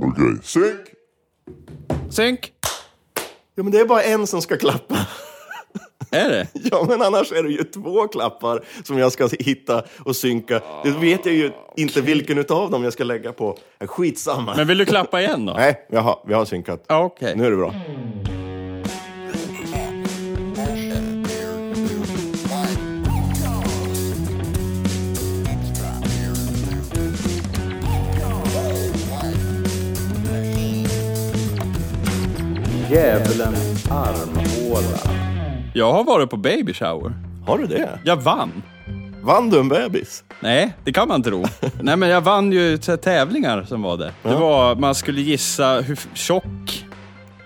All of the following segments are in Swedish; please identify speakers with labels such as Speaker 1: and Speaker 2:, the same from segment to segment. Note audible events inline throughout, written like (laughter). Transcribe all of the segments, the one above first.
Speaker 1: Okej, synk!
Speaker 2: Synk!
Speaker 3: Ja, men det är bara en som ska klappa.
Speaker 2: Är det?
Speaker 3: (laughs) Ja, men annars är det ju två klappar som jag ska hitta och synka. Det vet jag ju inte vilken utav dem jag ska lägga på. Äh, Skitsamma.
Speaker 2: Men vill du klappa igen då?
Speaker 3: Nej, vi har, vi har synkat.
Speaker 2: Ja, Okej.
Speaker 3: Nu är det bra.
Speaker 4: Djävulens armhåla.
Speaker 2: Jag har varit på baby shower.
Speaker 3: Har du det?
Speaker 2: Jag vann.
Speaker 3: Vann du en bebis?
Speaker 2: Nej, det kan
Speaker 3: (laughs)
Speaker 2: man tro. Nej, men jag vann ju t- tävlingar som var det. Det var, man skulle gissa hur f- tjock...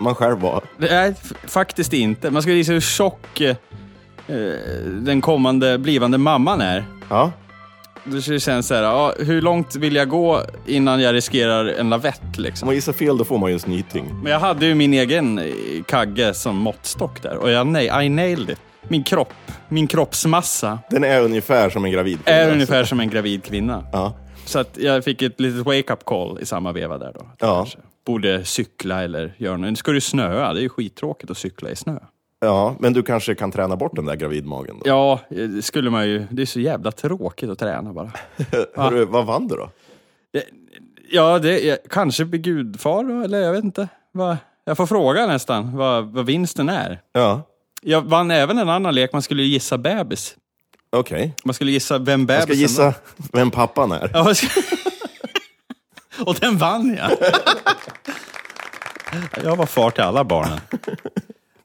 Speaker 3: Man själv var.
Speaker 2: Nej, f- faktiskt inte. Man skulle gissa hur tjock eh, eh, den kommande, blivande mamman är.
Speaker 3: Ja.
Speaker 2: Då skulle det kännas så här, ja, hur långt vill jag gå innan jag riskerar en lavett
Speaker 3: Om
Speaker 2: liksom?
Speaker 3: man gissar fel, då får man ju en snyting.
Speaker 2: Men jag hade ju min egen eh, kagge som måttstock där och jag nej, I nailed it. Min kropp, min kroppsmassa
Speaker 3: Den är ungefär som en gravid
Speaker 2: är
Speaker 3: kvinna.
Speaker 2: ungefär som en gravid kvinna.
Speaker 3: Ja.
Speaker 2: Så att jag fick ett litet wake-up call i samma veva där då.
Speaker 3: Ja.
Speaker 2: Kanske. Borde cykla eller göra något. Nu ska det ju snöa, det är ju skittråkigt att cykla i snö.
Speaker 3: Ja, men du kanske kan träna bort den där gravidmagen då?
Speaker 2: Ja, eh, det skulle man ju. Det är så jävla tråkigt att träna bara.
Speaker 3: Hörru, vad vann du då?
Speaker 2: Ja, det är, kanske blir gudfar då, eller jag vet inte. Va? Jag får fråga nästan vad, vad vinsten är.
Speaker 3: Ja,
Speaker 2: Jag vann även en annan lek, man skulle ju gissa bebis.
Speaker 3: okej.
Speaker 2: Man skulle gissa vem
Speaker 3: Jag ska
Speaker 2: bebisen var.
Speaker 3: gissa vem pappan är.
Speaker 2: Ja, jag ska- (laughs) Och den vann (laughs) jag. jag var far till alla barnen.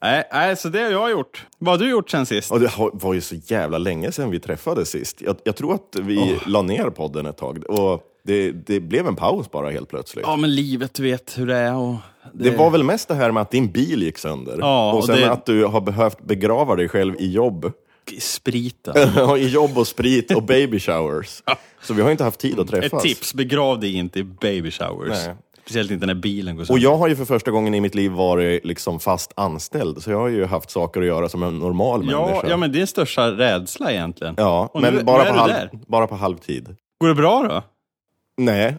Speaker 2: Nej, nej, så det har jag gjort. Vad har du gjort sen sist?
Speaker 3: Och det har- var ju så jävla länge sedan vi träffades sist. Jag, jag tror att vi la ner podden ett tag. Och det, det blev en paus bara helt plötsligt.
Speaker 2: Ja, men livet vet hur det är och...
Speaker 3: det... var väl mest det här med att din bil gick sönder.
Speaker 2: Ja,
Speaker 3: och
Speaker 2: och
Speaker 3: sen
Speaker 2: det-
Speaker 3: att du har behövt begrava dig själv i jobb. (laughs)
Speaker 2: Spriten.
Speaker 3: I jobb och sprit och baby showers. Så vi har ju inte haft tid att
Speaker 2: Ett
Speaker 3: träffas.
Speaker 2: tips, begrav dig inte i baby showers.
Speaker 3: Nej.
Speaker 2: Speciellt inte när bilen går
Speaker 3: Och
Speaker 2: sönder.
Speaker 3: jag har ju för första gången i mitt liv varit liksom fast anställd, så jag har ju haft saker att göra som en normal
Speaker 2: Ja,
Speaker 3: människa.
Speaker 2: ja, men det är största rädsla egentligen.
Speaker 3: Ja,
Speaker 2: Och
Speaker 3: men
Speaker 2: nu-
Speaker 3: bara,
Speaker 2: nu är
Speaker 3: på
Speaker 2: du
Speaker 3: halv,
Speaker 2: där.
Speaker 3: bara på halvtid.
Speaker 2: Går det bra då?
Speaker 3: Nej,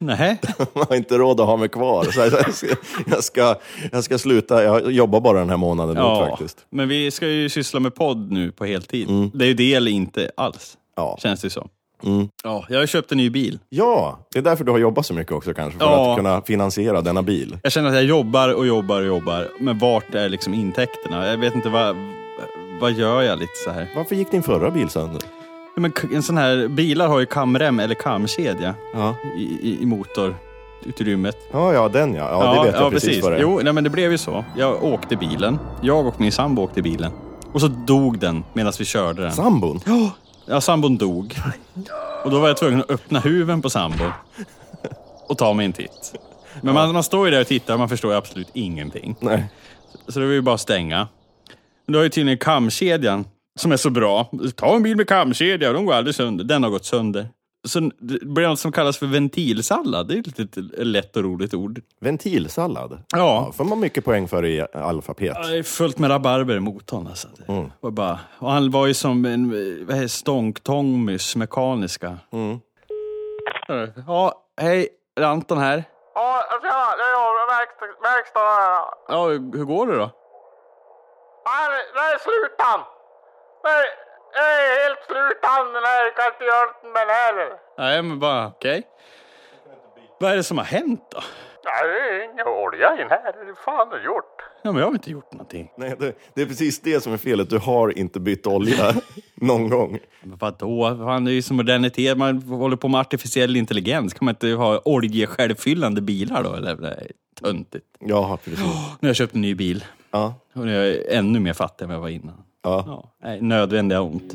Speaker 2: Nej.
Speaker 3: man har inte råd att ha mig kvar. Så jag, jag, ska, jag, ska, jag ska sluta, jag jobbar bara den här månaden ut faktiskt. Mm.
Speaker 2: men vi ska ju syssla med podd nu på heltid. Det är ju det eller inte alls,
Speaker 3: Ja. Mm.
Speaker 2: känns det som. Ja, jag har ju köpt en ny bil.
Speaker 3: ja, det är därför du har jobbat så mycket också kanske, för
Speaker 2: Ja.
Speaker 3: att kunna finansiera denna bil.
Speaker 2: Jag känner att jag jobbar och jobbar och jobbar, men vart är liksom intäkterna? Jag vet inte, vad, vad gör jag lite så här?
Speaker 3: Varför gick din förra bil sönder?
Speaker 2: Ja, Men k- en sån här, bilar har ju kamrem eller kamkedja
Speaker 3: Ja,
Speaker 2: i, i, i motorutrymmet.
Speaker 3: ja, ja den ja. Ja, det vet jag precis, vad det är.
Speaker 2: Jo, nej, men det blev ju så. Jag åkte bilen. Jag och min sambo åkte bilen. Och så dog den medan vi körde den.
Speaker 3: Sambon?
Speaker 2: Ja, sambon dog. Och då var jag tvungen att öppna huven på sambon och ta mig en titt. Men man, man står ju där och tittar och man förstår ju absolut ingenting.
Speaker 3: Nej.
Speaker 2: Så det var ju bara att stänga. Men då har ju tydligen kamkedjan, som är så bra. Ta en bil med kamkedja, de går aldrig sönder. Den har gått sönder. Så det blir något som kallas för ventilsallad. Det är ett litet lätt och roligt ord.
Speaker 3: Ventilsallad?
Speaker 2: Ja.
Speaker 3: Får man mycket poäng för i alfabet?
Speaker 2: Det är fullt med rabarber i motorn. Alltså. Det var bara, och han var ju som en eh, vad heter, stånktångmys, mekaniska. Ja, hej. Är det Anton här?
Speaker 5: Ja, tjena, det är jag, verkstad- verkstaden här.
Speaker 2: Ja, hur hur går det då?
Speaker 5: Nej, det- det är slutan. Nej, jag är helt slutan. Nej, jag kan inte göra något med det här.
Speaker 2: Nej, men bara okej. Vad är det som har hänt då?
Speaker 5: Nej, det är ingen olja i den här. Hur fan har du gjort?
Speaker 2: Ja, men jag har inte gjort någonting.
Speaker 3: Nej, det, det är precis det som är felet. Du har inte bytt (laughs) olja någon gång.
Speaker 2: Men vadå? Fan, det är ju som modernitet. Man håller på med artificiell intelligens. Kan man inte ha oljesjälvfyllande bilar då? Eller? Nej, töntigt.
Speaker 3: Ja, precis.
Speaker 2: Nu har jag köpt en ny bil.
Speaker 3: Ja,
Speaker 2: Och jag är ännu mer fattig än vad jag var innan.
Speaker 3: ja.
Speaker 2: Ja, nej, nödvändiga ont.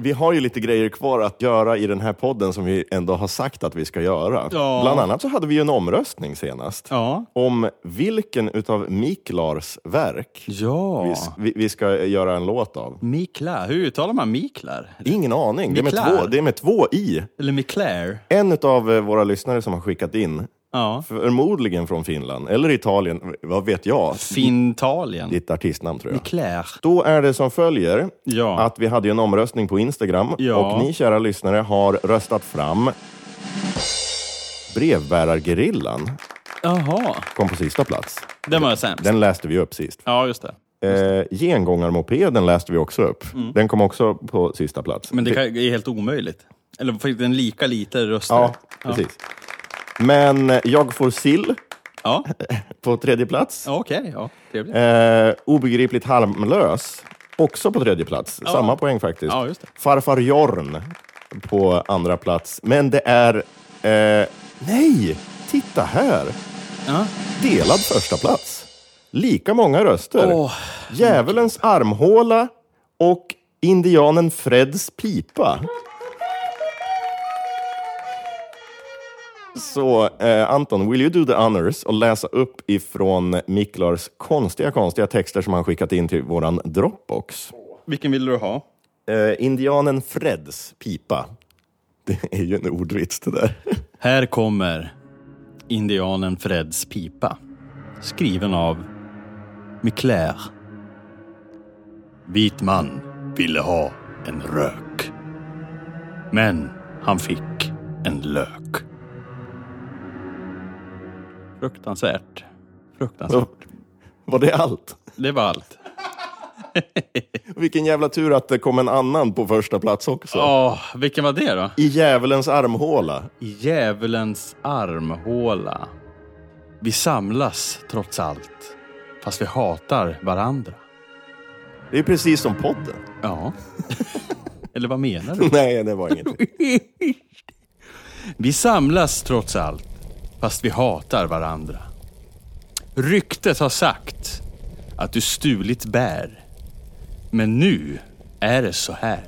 Speaker 3: Vi har ju lite grejer kvar att göra i den här podden som vi ändå har sagt att vi ska göra.
Speaker 2: Ja.
Speaker 3: Bland annat så hade vi ju en omröstning senast
Speaker 2: Ja.
Speaker 3: om vilken utav Miklars verk vi,
Speaker 2: Ja.
Speaker 3: s- vi, vi ska göra en låt av.
Speaker 2: Mikla. Hur uttalar man Miklar?
Speaker 3: Ingen aning. Det är, med
Speaker 2: Miklar.
Speaker 3: två, det är med två i.
Speaker 2: Eller Miklär?
Speaker 3: En utav eh, våra lyssnare som har skickat in,
Speaker 2: Ja.
Speaker 3: förmodligen från Finland eller Italien, vad vet jag?
Speaker 2: Fintalien.
Speaker 3: Ditt artistnamn tror jag.
Speaker 2: Miklär.
Speaker 3: Då är det som följer
Speaker 2: Ja.
Speaker 3: att vi hade ju en omröstning på Instagram
Speaker 2: Ja.
Speaker 3: och ni kära lyssnare har röstat fram Brevbärargerillan
Speaker 2: Jaha.
Speaker 3: kom på sista plats.
Speaker 2: Den var sämst.
Speaker 3: Den läste vi upp sist.
Speaker 2: Ja, just det. Mm.
Speaker 3: Eh, Gengångarmopeden läste vi också upp. Den kom också på sista plats.
Speaker 2: Men det, kan, det är helt omöjligt. Eller fick den lika lite röster?
Speaker 3: Ja, precis. Men eh, Jag får sill
Speaker 2: Ja,
Speaker 3: på tredje plats.
Speaker 2: Ja, okej. ja, trevligt.
Speaker 3: Eh, obegripligt harmlös, också på tredje plats. Samma poäng faktiskt.
Speaker 2: Ja, just det.
Speaker 3: Farfar Jorn på andra plats. Men det är... Eh, nej! Titta här!
Speaker 2: Ja.
Speaker 3: Delad första plats. Lika många röster.
Speaker 2: Åh.
Speaker 3: Djävulens armhåla och indianen Freds pipa. Så eh, Anton, will you do the honors och läsa upp ifrån Miklars konstiga, konstiga texter som han skickat in till våran Dropbox?
Speaker 2: Vilken vill du ha?
Speaker 3: Eh, indianen Freds pipa. Det är ju en ordvits det där. (laughs)
Speaker 2: Här kommer indianen Freds pipa. Skriven av Miclair. Vit man ville ha en rök. Men han fick en lök. Fruktansvärt. Fruktansvärt.
Speaker 3: Var det allt?
Speaker 2: Det var allt.
Speaker 3: Vilken jävla tur att det kom en annan på första plats också.
Speaker 2: Åh, vilken var det då?
Speaker 3: I djävulens armhåla.
Speaker 2: I djävulens armhåla. Vi samlas trots allt. Fast vi hatar varandra.
Speaker 3: Det är precis som podden. (laughs)
Speaker 2: Ja. (laughs) Eller vad menar du?
Speaker 3: Nej, det var inget. (laughs)
Speaker 2: Vi samlas trots allt, fast vi hatar varandra. Ryktet har sagt att du stulit bär. Men nu är det så här.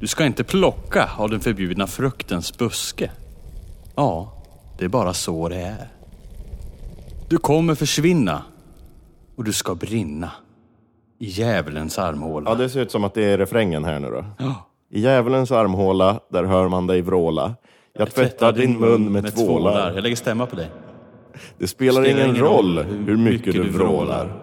Speaker 2: Du ska inte plocka av den förbjudna fruktens buske. Ja, det är bara så det är. Du kommer försvinna och du ska brinna i djävulens armhåla.
Speaker 3: Ja, det ser ut som att det är refrängen här nu då.
Speaker 2: Ja.
Speaker 3: I djävulens armhåla, där hör man dig vråla. Jag tvättar din mun med tvålar.
Speaker 2: Jag lägger stämma på dig.
Speaker 3: Det spelar ingen roll hur mycket du vrålar.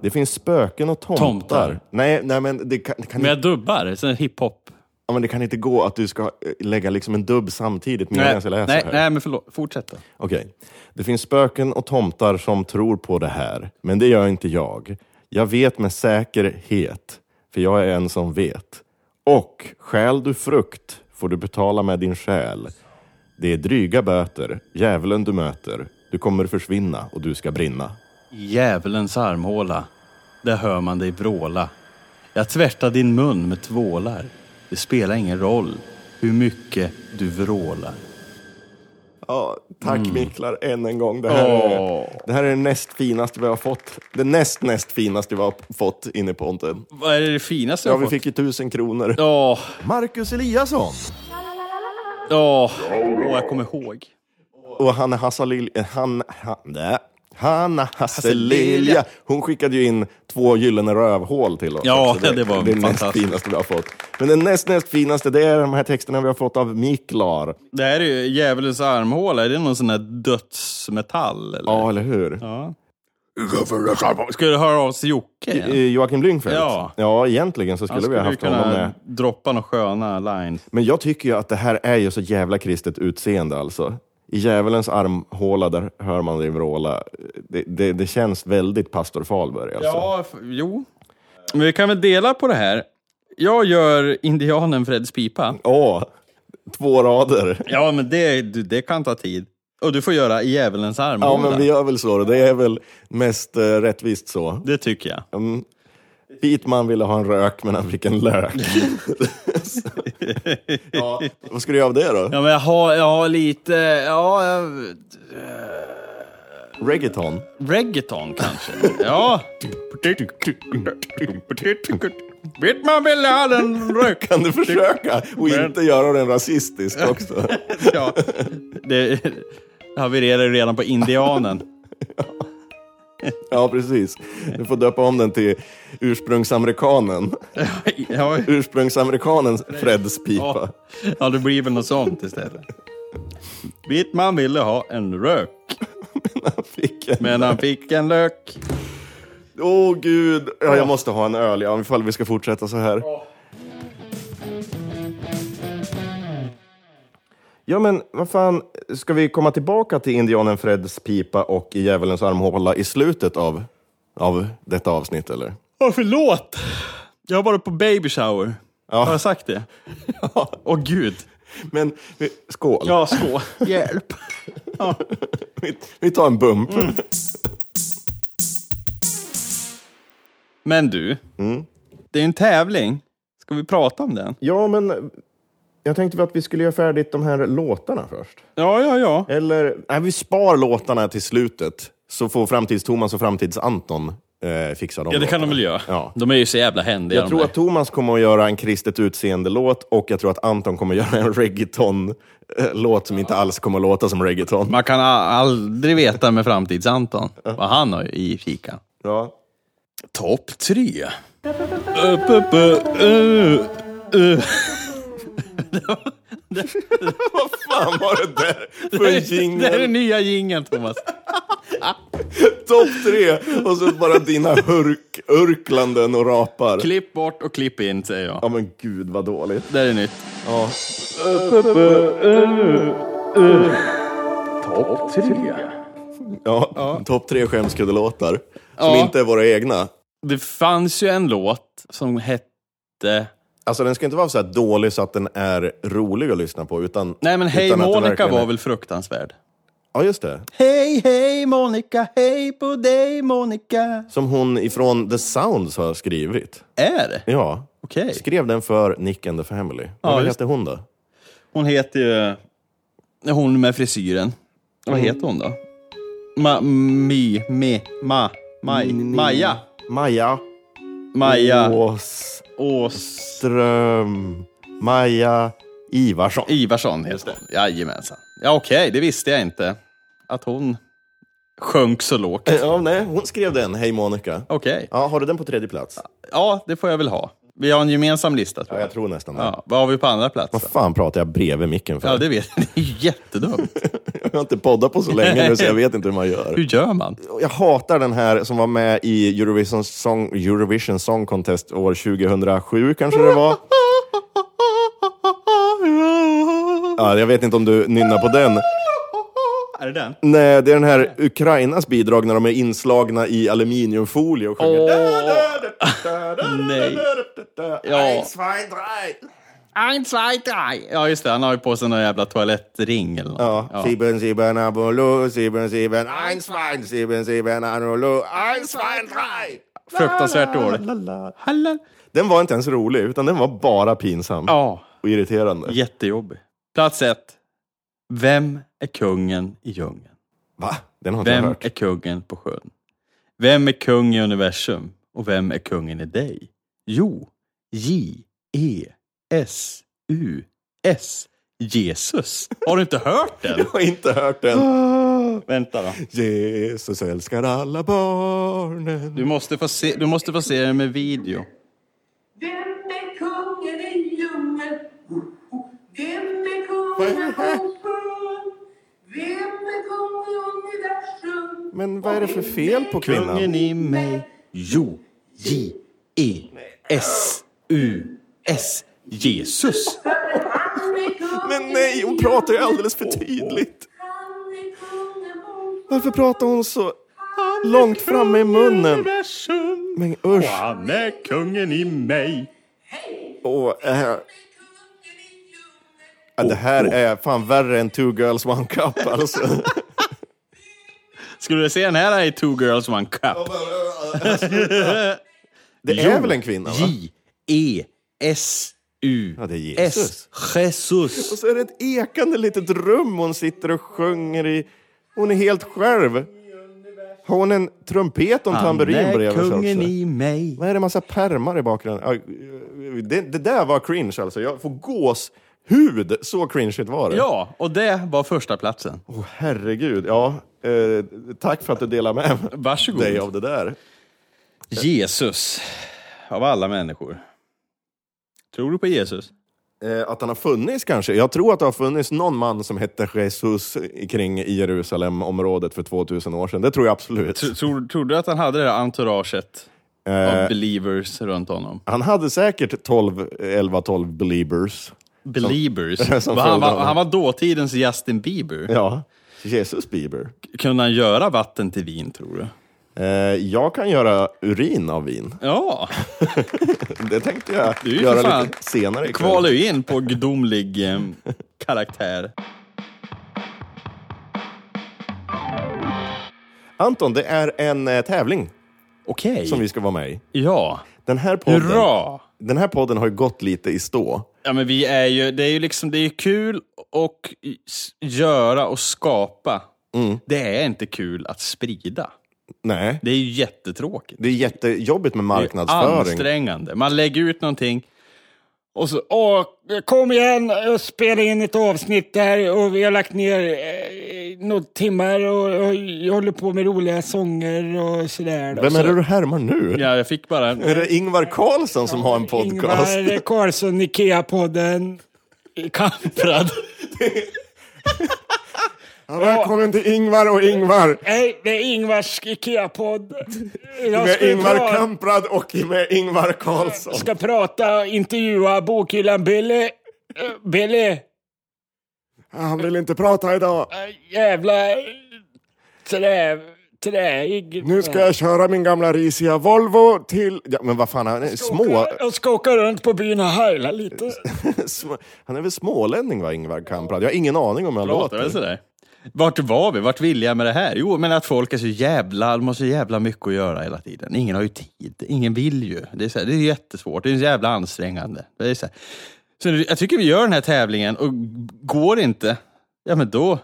Speaker 3: Det finns spöken och tomtar.
Speaker 2: Tomtar.
Speaker 3: Nej, nej men, det kan, det kan
Speaker 2: Men
Speaker 3: inte,
Speaker 2: jag dubbar, sån här hiphop.
Speaker 3: ja, men det kan inte gå att du ska eh, lägga liksom en dubb samtidigt medan
Speaker 2: Nej,
Speaker 3: jag läser
Speaker 2: nej,
Speaker 3: här.
Speaker 2: nej, men förlåt. Fortsätt då.
Speaker 3: Okej. Det finns spöken och tomtar som tror på det här, men det gör inte jag. Jag vet med säkerhet, för jag är en som vet. Och stjäl du frukt får du betala med din själ. Det är dryga böter, djävulen du möter. Du kommer försvinna och du ska brinna.
Speaker 2: I djävulens armhåla, där hör man dig vråla. Jag tvättar din mun med tvålar. Det spelar ingen roll hur mycket du vrålar.
Speaker 3: Ja, tack Miklar än en gång. Det här, är,
Speaker 2: Åh.
Speaker 3: det här är det näst finaste vi har fått. Det näst näst finaste vi har fått inne i ponten.
Speaker 2: Vad är det finaste
Speaker 3: Ja,
Speaker 2: jag
Speaker 3: vi
Speaker 2: har fått?
Speaker 3: fick ju tusen kronor.
Speaker 2: Ja,
Speaker 3: Marcus Eliasson!
Speaker 2: ja, Åh, jag kommer ihåg.
Speaker 3: Och Hanna Hasselilja, han, han, nej. Hanna Hasselilja,
Speaker 2: Hasselilja.
Speaker 3: hon skickade ju in två gyllene rövhål till oss.
Speaker 2: Ja,
Speaker 3: också.
Speaker 2: det var
Speaker 3: det näst
Speaker 2: fantastiskt.
Speaker 3: finaste vi har fått. Men den näst, näst finaste, det är de här texterna vi har fått av Miklar.
Speaker 2: Det här är ju djävulens armhåla. Är det någon sån här dödsmetall? Eller?
Speaker 3: Ja, eller hur?
Speaker 2: Ska du höra av oss till Jocke
Speaker 3: Eh,
Speaker 2: igen?
Speaker 3: Joakim Lyngfeldt.
Speaker 2: Ja.
Speaker 3: ja, egentligen så skulle
Speaker 2: Han
Speaker 3: vi ha
Speaker 2: skulle ju
Speaker 3: haft honom med.
Speaker 2: kunna droppa några sköna lines.
Speaker 3: Men jag tycker ju att det här är ju så jävla kristet utseende alltså. I djävulens armhåla, där hör man dig vråla. Det, det, det känns väldigt pastor Fahlberg alltså.
Speaker 2: Ja, f- jo. Men vi kan väl dela på det här. Jag gör indianen Freds pipa.
Speaker 3: Åh, två rader.
Speaker 2: Ja, men det, du- det kan ta tid. Och du får göra i djävulens
Speaker 3: Ja,
Speaker 2: armhåla.
Speaker 3: men vi gör väl så. då. Det är väl mest eh, rättvist så.
Speaker 2: Det tycker jag.
Speaker 3: Vitman ville ha en rök, men han fick en lök. Så. ja, vad ska du göra av det då?
Speaker 2: Ja, men jag har, jag har lite... Ja, jag-
Speaker 3: Reggaeton?
Speaker 2: reggaeton kanske. ja. Vet man väl all en rök.
Speaker 3: Kan du försöka och inte göra den rasistisk också?
Speaker 2: Ja. Det havererar ju redan på indianen.
Speaker 3: Ja, precis. Du får döpa om den till ursprungsamerikanen.
Speaker 2: Ja,
Speaker 3: Ursprungsamerikanens Freds pipa.
Speaker 2: Ja, ja det blir väl något sånt istället. Wittman ville ha en rök,
Speaker 3: Han fick en...
Speaker 2: men han fick en lök.
Speaker 3: Åh gud, ja, jag måste ha en öl ja, ifall vi ska fortsätta så här. Ja, men vad fan, ska vi komma tillbaka till indianen Freds pipa och i djävulens armhåla i slutet av, av detta avsnitt, eller?
Speaker 2: Åh, förlåt! Jag har varit på baby shower. Har jag sagt det? Åh gud.
Speaker 3: Men vi- skål!
Speaker 2: Ja, skå. Hjälp.
Speaker 3: Vi, vi tar en bump.
Speaker 2: Men du,
Speaker 3: Mm.
Speaker 2: det är en tävling. Ska vi prata om den?
Speaker 3: Ja, men jag tänkte att vi skulle göra färdigt de här låtarna först.
Speaker 2: Ja, ja, ja.
Speaker 3: Eller, nej, vi spar låtarna till slutet, så får Framtids-Thomas och Framtids-Anton eh, fixa dem.
Speaker 2: Ja, det kan de väl göra.
Speaker 3: Ja.
Speaker 2: De är ju så jävla händiga.
Speaker 3: Jag
Speaker 2: de
Speaker 3: tror
Speaker 2: där.
Speaker 3: att Thomas kommer att göra en kristet utseende-låt och jag tror att Anton kommer att göra en reggaeton-låt som inte alls kommer att låta som reggaeton.
Speaker 2: Man kan a- aldrig veta med framtids-Anton vad han har i fikan.
Speaker 3: Ja.
Speaker 2: Topp tre. Upp, upp, ö, ö, ö.
Speaker 3: Fan var det där för
Speaker 2: Det här är
Speaker 3: jingel?
Speaker 2: nya jingeln, Thomas.
Speaker 3: Topp tre! Och så bara dina hurk, urklanden och rapar.
Speaker 2: Klipp bort och klipp in, säger jag.
Speaker 3: Ja men gud vad dåligt.
Speaker 2: Det här är nytt.
Speaker 4: Topp 3.
Speaker 3: Ja, topp tre skämskuddelåtar. Som
Speaker 2: Ja.
Speaker 3: inte är våra egna.
Speaker 2: Det fanns ju en låt som hette...
Speaker 3: Alltså den ska inte vara så här dålig så att den är rolig att lyssna på. Utan,
Speaker 2: Nej, men Hej
Speaker 3: utan att den
Speaker 2: Monica
Speaker 3: verkligen är-
Speaker 2: var väl fruktansvärd?
Speaker 3: Ja just det.
Speaker 2: Hej, hej Monica, hej på dig Monica.
Speaker 3: Som hon ifrån The Sounds har skrivit.
Speaker 2: Är det?
Speaker 3: Ja.
Speaker 2: Okej.
Speaker 3: Skrev den för Nick and the Family. Vad
Speaker 2: just-
Speaker 3: hette hon då?
Speaker 2: Hon heter ju... Hon med frisyren. Vad heter hon då? Ma, mi, me, ma, maj, Maja.
Speaker 3: Maja
Speaker 2: Maja
Speaker 3: Ås...
Speaker 2: Ås...
Speaker 3: Ström... Maja Ivarsson.
Speaker 2: Ivarsson heter hon. Jajamensan. Ja, okej, det visste jag inte. Att hon sjönk så lågt.
Speaker 3: Ja, nej, hon skrev den, Hej Monica.
Speaker 2: Okej.
Speaker 3: Ja, har du den på tredje plats?
Speaker 2: Ja, det får jag väl ha. Vi har en gemensam lista tror
Speaker 3: Ja,
Speaker 2: jag.
Speaker 3: jag tror nästan det.
Speaker 2: Ja, vad har vi på andra plats? då?
Speaker 3: Vad fan pratar jag bredvid micken för?
Speaker 2: Ja, det vet jag. (laughs) Det är ju jättedumt.
Speaker 3: (laughs) Jag har inte poddat på så länge
Speaker 2: (laughs)
Speaker 3: nu så jag vet inte hur man gör.
Speaker 2: Hur gör man?
Speaker 3: Och Jag hatar den här som var med i Eurovision Song, Eurovision Song Contest år 2007 kanske det var. Ja, jag vet inte om du nynnar på den.
Speaker 2: Är det den?
Speaker 3: Nej, det är den här Ukrainas bidrag när de är inslagna i aluminiumfolie och sjunger...
Speaker 2: Nej. Ja.
Speaker 3: Eins, zwei, drei.
Speaker 2: Ein, zwei, drei. Ja, just det. Han har ju på sig någon jävla toalettring eller något.
Speaker 3: Ja. Sieben, sieben, abolo, sieben, sieben, eins, zwei, sieben, sieben, abolo, eins, zwei, drei.
Speaker 2: Fruktansvärt dåligt. Hallå.
Speaker 3: Den var inte ens rolig, utan den var bara pinsam
Speaker 2: Ja,
Speaker 3: och irriterande.
Speaker 2: jättejobbig. Plats ett. Vem är kungen i djungeln?
Speaker 3: Va? Den har inte jag
Speaker 2: Vem
Speaker 3: hört.
Speaker 2: är kungen på sjön? Vem är kung i universum? Och vem är kungen i dig? Jo, E J-E-S-U-S. Jesus. Har du inte hört
Speaker 3: (laughs)
Speaker 2: den?
Speaker 3: Jag har inte hört den.
Speaker 2: Vänta då.
Speaker 3: Jesus älskar alla barnen.
Speaker 2: Du måste få se, du måste få se den med video.
Speaker 1: Vem är kungen i djungeln? Oh, Vem är kungen på sjön? Vem är kungen i universum?
Speaker 3: Men vad är det för fel på
Speaker 2: Kungen
Speaker 3: kvinnan?
Speaker 2: i mig. Jo, E J-E-S-U-S. Jesus.
Speaker 1: Han är
Speaker 3: (laughs)
Speaker 1: kungen
Speaker 3: Men nej, hon pratar ju alldeles för tydligt.
Speaker 1: Han är kungen på
Speaker 3: Varför pratar hon så långt framme i munnen? Men usch.
Speaker 2: Han är kungen i mig.
Speaker 3: Och, äh,
Speaker 1: kungen i djungeln.
Speaker 3: ja, det här är fan värre än Two Girls One Cup alltså.
Speaker 2: Skulle du se den här i Two Girls One Cup?
Speaker 3: Det är väl en kvinna va?
Speaker 2: J-E-S-U.
Speaker 3: Ja, det är Jesus. Och
Speaker 2: Jesus.
Speaker 3: så är det ett ekande litet rum hon sitter och sjunger i. Hon är helt själv. Har hon en trumpet och en
Speaker 2: Han
Speaker 3: tamburin
Speaker 2: är
Speaker 3: bredvid sig
Speaker 2: kungen
Speaker 3: också?
Speaker 2: i mig.
Speaker 3: Vad är det massa pärmar i bakgrunden? Ja, Det, det där var cringe alltså. Jag får gåshud. Så cringeigt var det.
Speaker 2: Ja, och det var första platsen.
Speaker 3: Åh, herregud. Ja, eh, tack för att du delar med
Speaker 2: Varsågod.
Speaker 3: dig av det där.
Speaker 2: Jesus. Av alla människor. Tror du på Jesus?
Speaker 3: Eh, att han har funnits kanske. Jag tror att det har funnits någon man som hette Jesus kring i Jerusalemområdet för 2000 år sedan. Det tror jag absolut.
Speaker 2: Tr- Tror, tror du att han hade det där entouraget av
Speaker 3: Eh,
Speaker 2: believers runt honom?
Speaker 3: Han hade säkert 12, 11-12 believers. (laughs)
Speaker 2: Beliebers.
Speaker 3: Som- som
Speaker 2: Var han,
Speaker 3: frågar
Speaker 2: var,
Speaker 3: honom.
Speaker 2: han var dåtidens Justin Bieber.
Speaker 3: Ja, Jesus Bieber.
Speaker 2: Kunde han göra vatten till vin, tror du?
Speaker 3: Eh, jag kan göra urin av vin.
Speaker 2: Ja,
Speaker 3: Det tänkte jag
Speaker 2: är ju för
Speaker 3: göra
Speaker 2: fan-
Speaker 3: lite senare ikväll.
Speaker 2: kvalar ju in på gudomlig eh, karaktär.
Speaker 3: Anton, det är en eh, tävling
Speaker 2: Okej.
Speaker 3: som vi ska vara med i.
Speaker 2: Ja.
Speaker 3: Den här podden,
Speaker 2: Hurra!
Speaker 3: Den här podden har ju gått lite i stå.
Speaker 2: Ja, men vi är ju, det är ju liksom, det är ju kul att s- göra och skapa.
Speaker 3: Mm.
Speaker 2: Det är inte kul att sprida.
Speaker 3: Nej,
Speaker 2: Det är ju jättetråkigt.
Speaker 3: det är jättejobbigt med
Speaker 2: Det är
Speaker 3: marknadsföring.
Speaker 2: Ansträngande. Man lägger ut någonting och så, åh,
Speaker 6: eh,
Speaker 2: kom igen, jag spelar in ett avsnitt där och vi har lagt ner eh, några timmar och, och jag håller på med roliga sånger och sådär. då."
Speaker 3: Vem är
Speaker 2: Så-
Speaker 3: det du härmar nu?
Speaker 2: Ja, jag fick bara...
Speaker 3: Är det Ingvar Carlsson som har en podcast?
Speaker 6: Ingvar Carlsson, Ikea-podden.
Speaker 2: Kamprad.
Speaker 3: Ja, välkommen till Ingvar och Ingvar!
Speaker 6: Nej, det är Ingvars Ikea-podd. Jag
Speaker 3: Med
Speaker 6: ska,
Speaker 3: Ingvar
Speaker 6: pra-
Speaker 3: Kamprad och med Ingvar Carlsson.
Speaker 6: ska prata och intervjua bokhyllan Billy. Eh, Billy, eh,
Speaker 3: Han vill inte prata idag.
Speaker 6: jävla eh, trä... Träig.
Speaker 3: Nu ska jag köra min gamla risiga Volvo till... Ja, men vad fan, han är små... (laughs)
Speaker 6: Jag ska åka runt på byn och heila lite.
Speaker 3: små- Han är väl smålänning va, Ingvar Kamprad? Jag har ingen aning om hur han
Speaker 2: Låter väl
Speaker 3: låter.
Speaker 2: sådär. Vart var vi? Vart vill jag med det här? Jo, men att folk är så jävla, de har så jävla mycket att göra hela tiden. Ingen har ju tid. Ingen vill ju. Det är, så här, det är jättesvårt. Det är så jävla ansträngande. Det är så, här. så jag tycker vi gör den här tävlingen och går det inte, ja men då...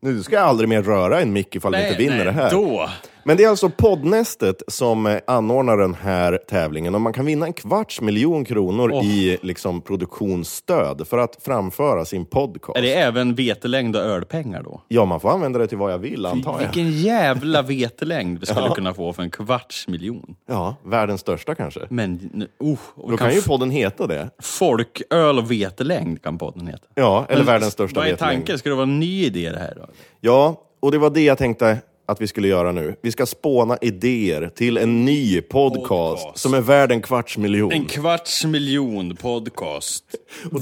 Speaker 3: Nu ska jag aldrig mer röra en mick ifall vi inte vinner det här.
Speaker 2: Då!
Speaker 3: Men det är alltså Poddnästet som eh, anordnar den här tävlingen och man kan vinna en kvarts miljon kronor
Speaker 2: Åh.
Speaker 3: i liksom, produktionsstöd för att framföra sin podcast.
Speaker 2: Är det även vetelängd och ölpengar då?
Speaker 3: Ja, man får använda det till vad jag vill antar jag.
Speaker 2: Vilken jävla vetelängd vi skulle kunna få för en kvarts miljon.
Speaker 3: Ja, världens största kanske.
Speaker 2: Men, nu- uh, och
Speaker 3: Då
Speaker 2: kan
Speaker 3: kan ju
Speaker 2: f-
Speaker 3: podden heta det.
Speaker 2: folköl och vetelängd kan podden heta.
Speaker 3: Ja, eller (laughs) världens största
Speaker 2: Vad är
Speaker 3: vetelängd.
Speaker 2: tanken? Ska det vara en ny idé det här då?
Speaker 3: Ja, och det var det jag tänkte att vi skulle göra nu. Vi ska spåna idéer till en ny podcast,
Speaker 2: Podcast.
Speaker 3: som är värd en kvarts miljon.
Speaker 2: En kvarts miljon podcast.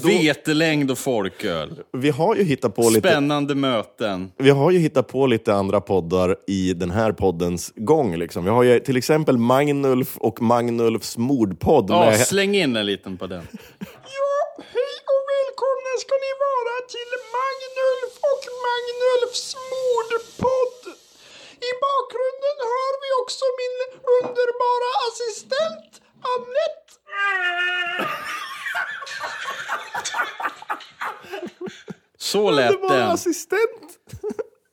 Speaker 2: Vetelängd och folköl.
Speaker 3: Vi har ju hittat på lite...
Speaker 2: Spännande möten.
Speaker 3: vi har ju hittat på lite andra poddar i den här poddens gång. Liksom. Vi har ju till exempel Magnulf och Magnulfs mordpodd.
Speaker 2: Ja,
Speaker 3: med...
Speaker 2: släng in en liten på den.
Speaker 7: Hej och välkomna ska ni vara till Magnulf och Magnulfs mordpodd. I bakgrunden hör vi också min underbara assistent Annette.
Speaker 2: Så lät
Speaker 3: Bara
Speaker 2: den.
Speaker 3: assistent!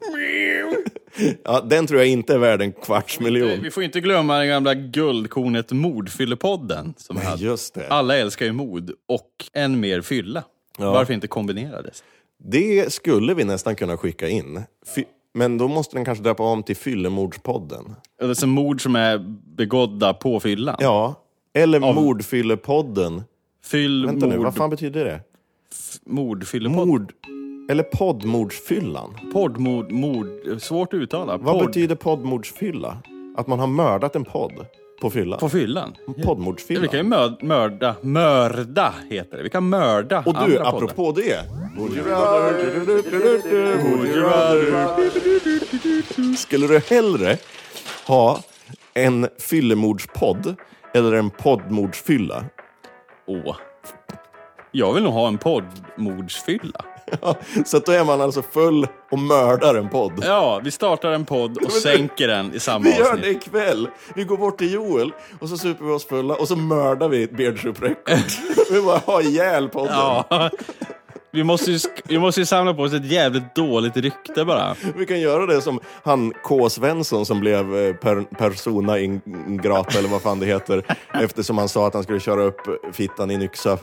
Speaker 3: (laughs) ja, den tror jag inte är värd en kvarts miljon.
Speaker 2: Vi får inte glömma den gamla guldkornet Mordfyllepodden. Som vi hade.
Speaker 3: Just det.
Speaker 2: Alla älskar ju mod och än mer fylla. Varför inte kombinera det?
Speaker 3: Det skulle vi nästan kunna skicka in. Fy... Men då måste den kanske döpa om till Fyllemordspodden.
Speaker 2: Eller så mord som är begådda på fyllan.
Speaker 3: Ja, eller Mordfyllepodden.
Speaker 2: Fyll,
Speaker 3: Vänta nu,
Speaker 2: mord,
Speaker 3: vad fan betyder det?
Speaker 2: mordfyllepodd.
Speaker 3: Mord... Eller poddmordsfyllan.
Speaker 2: Podd, mord, mord. Svårt att uttala.
Speaker 3: Vad
Speaker 2: Podd
Speaker 3: betyder poddmordsfylla? Att man har mördat en podd på fylla?
Speaker 2: På fyllan. Ja,
Speaker 3: Poddmordsfylla?
Speaker 2: vi kan ju mörd, mörda, mörda heter det. Vi kan mörda
Speaker 3: Och du,
Speaker 2: andra
Speaker 3: apropå det. Would you rather- Would you rather- Skulle du hellre ha en fyllemordspodd eller en poddmordsfylla?
Speaker 2: poddar. Åh. Jag vill nog ha en poddmordsfylla.
Speaker 3: (laughs) Så att då är man alltså full och mördar en podd.
Speaker 2: Ja, vi startar en podd
Speaker 3: (laughs)
Speaker 2: och sänker den i samma
Speaker 3: Vi gör det
Speaker 2: avsnitt.
Speaker 3: ikväll. Vi går bort till Joel och så super vi oss fulla och så mördar vi Beardsoup
Speaker 2: (laughs)
Speaker 3: Records. vi bara har ihjäl podden.
Speaker 2: Ja. Vi måste, ju, sk- vi måste ju samla på oss ett jävligt dåligt rykte bara.
Speaker 3: Vi kan göra det som han K. Svensson som blev eh, per, persona ingrata eller vad fan det heter
Speaker 2: (laughs)
Speaker 3: eftersom han sa att han skulle köra upp fittan i en yxa.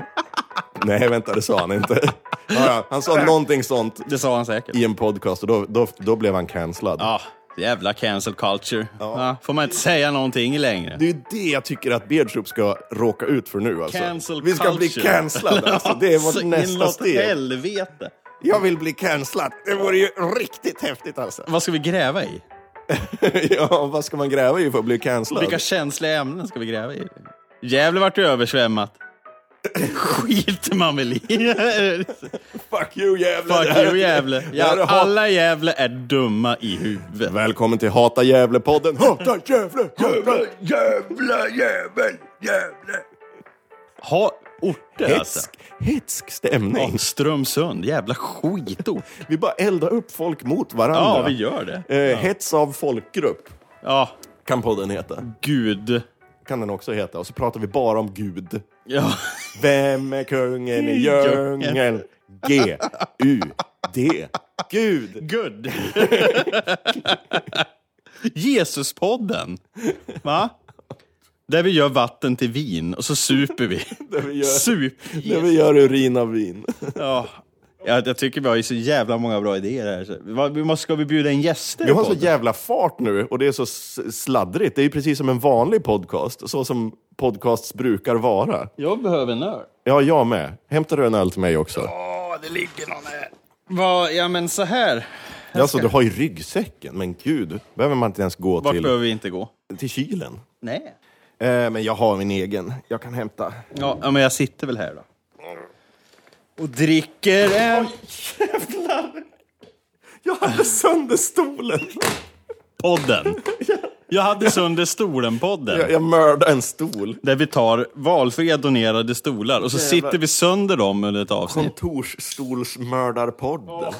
Speaker 3: Nej, vänta, det sa han
Speaker 2: (laughs)
Speaker 3: inte. Ja, ja, han sa någonting sånt
Speaker 2: Det sa han säkert.
Speaker 3: i en podcast och då, då, då blev han cancellad.
Speaker 2: Ja, jävla cancel culture. Ja, får man inte säga någonting längre.
Speaker 3: Det är ju det jag tycker att Beardstrup ska råka ut för nu. Alltså.
Speaker 2: Cancel
Speaker 3: Vi ska bli
Speaker 2: culture.
Speaker 3: cancellade. Alltså. Det är
Speaker 2: (laughs) Så
Speaker 3: vårt nästa
Speaker 2: inåt
Speaker 3: steg.
Speaker 2: helvete.
Speaker 3: Jag vill bli cancellad. Det vore ju riktigt häftigt alltså. (laughs)
Speaker 2: Vad ska vi gräva i?
Speaker 3: ja, vad ska man gräva i för att bli cancellad?
Speaker 2: Vilka känsliga ämnen ska vi gräva i? Gävle vart ju översvämmat. skiter man väl i.
Speaker 3: Fuck you jävla
Speaker 2: Fuck you Gävle. Ja,
Speaker 3: alla...
Speaker 2: alla Gävle är dumma i huvudet.
Speaker 3: Välkommen till Hata Gävle-podden. Hata Gävle, Gävle,
Speaker 5: Jävla jävel, jävla.
Speaker 2: Ha orter alltså.
Speaker 3: Hetsk, hetsk stämning.
Speaker 2: Ja, Strömsund, jävla skitort.
Speaker 3: Vi bara eldar upp folk mot varandra.
Speaker 2: Ja, vi gör det.
Speaker 3: Eh, Hets av folkgrupp
Speaker 2: Ja,
Speaker 3: kan podden heta.
Speaker 2: gud.
Speaker 3: Kan den också heta. Och så pratar vi bara om Gud.
Speaker 2: Ja,
Speaker 3: Vem är kungen i djungeln? G-U-D. Gud.
Speaker 2: good. (laughs) Jesuspodden. Va? Där vi gör vatten till vin och så super (laughs) vi.
Speaker 3: Där vi gör,
Speaker 2: Sup.
Speaker 3: där vi gör urin av vin.
Speaker 2: Ja. Jag, jag tycker vi har ju så jävla många bra idéer här. Så, vad- vi måste, ska vi bjuda in gäster?
Speaker 3: Vi har
Speaker 2: på
Speaker 3: så
Speaker 2: det?
Speaker 3: jävla fart nu och det är så s- sladdrigt. Det är ju precis som en vanlig podcast, så som podcasts brukar vara.
Speaker 2: jag behöver en öl.
Speaker 3: Ja, jag med. Hämtar du en öl till mig också?
Speaker 2: Vad, ja men så här.
Speaker 3: Alltså, du har ju ryggsäcken, men gud, behöver man inte ens gå
Speaker 2: Vart
Speaker 3: till,
Speaker 2: behöver vi inte gå?
Speaker 3: till kylen.
Speaker 2: Nej.
Speaker 3: Eh, men jag har min egen, jag kan hämta.
Speaker 2: Ja, ja, men jag sitter väl här då. Och dricker en
Speaker 3: Jag hade sönder stolen!
Speaker 2: podden. Jag hade sönder stolen-podden.
Speaker 3: Jag, jag mördade en stol.
Speaker 2: Där vi tar valfria donerade stolar och så sitter vi sönder dem under ett avsnitt.
Speaker 3: Kontorsstolsmördarpodden.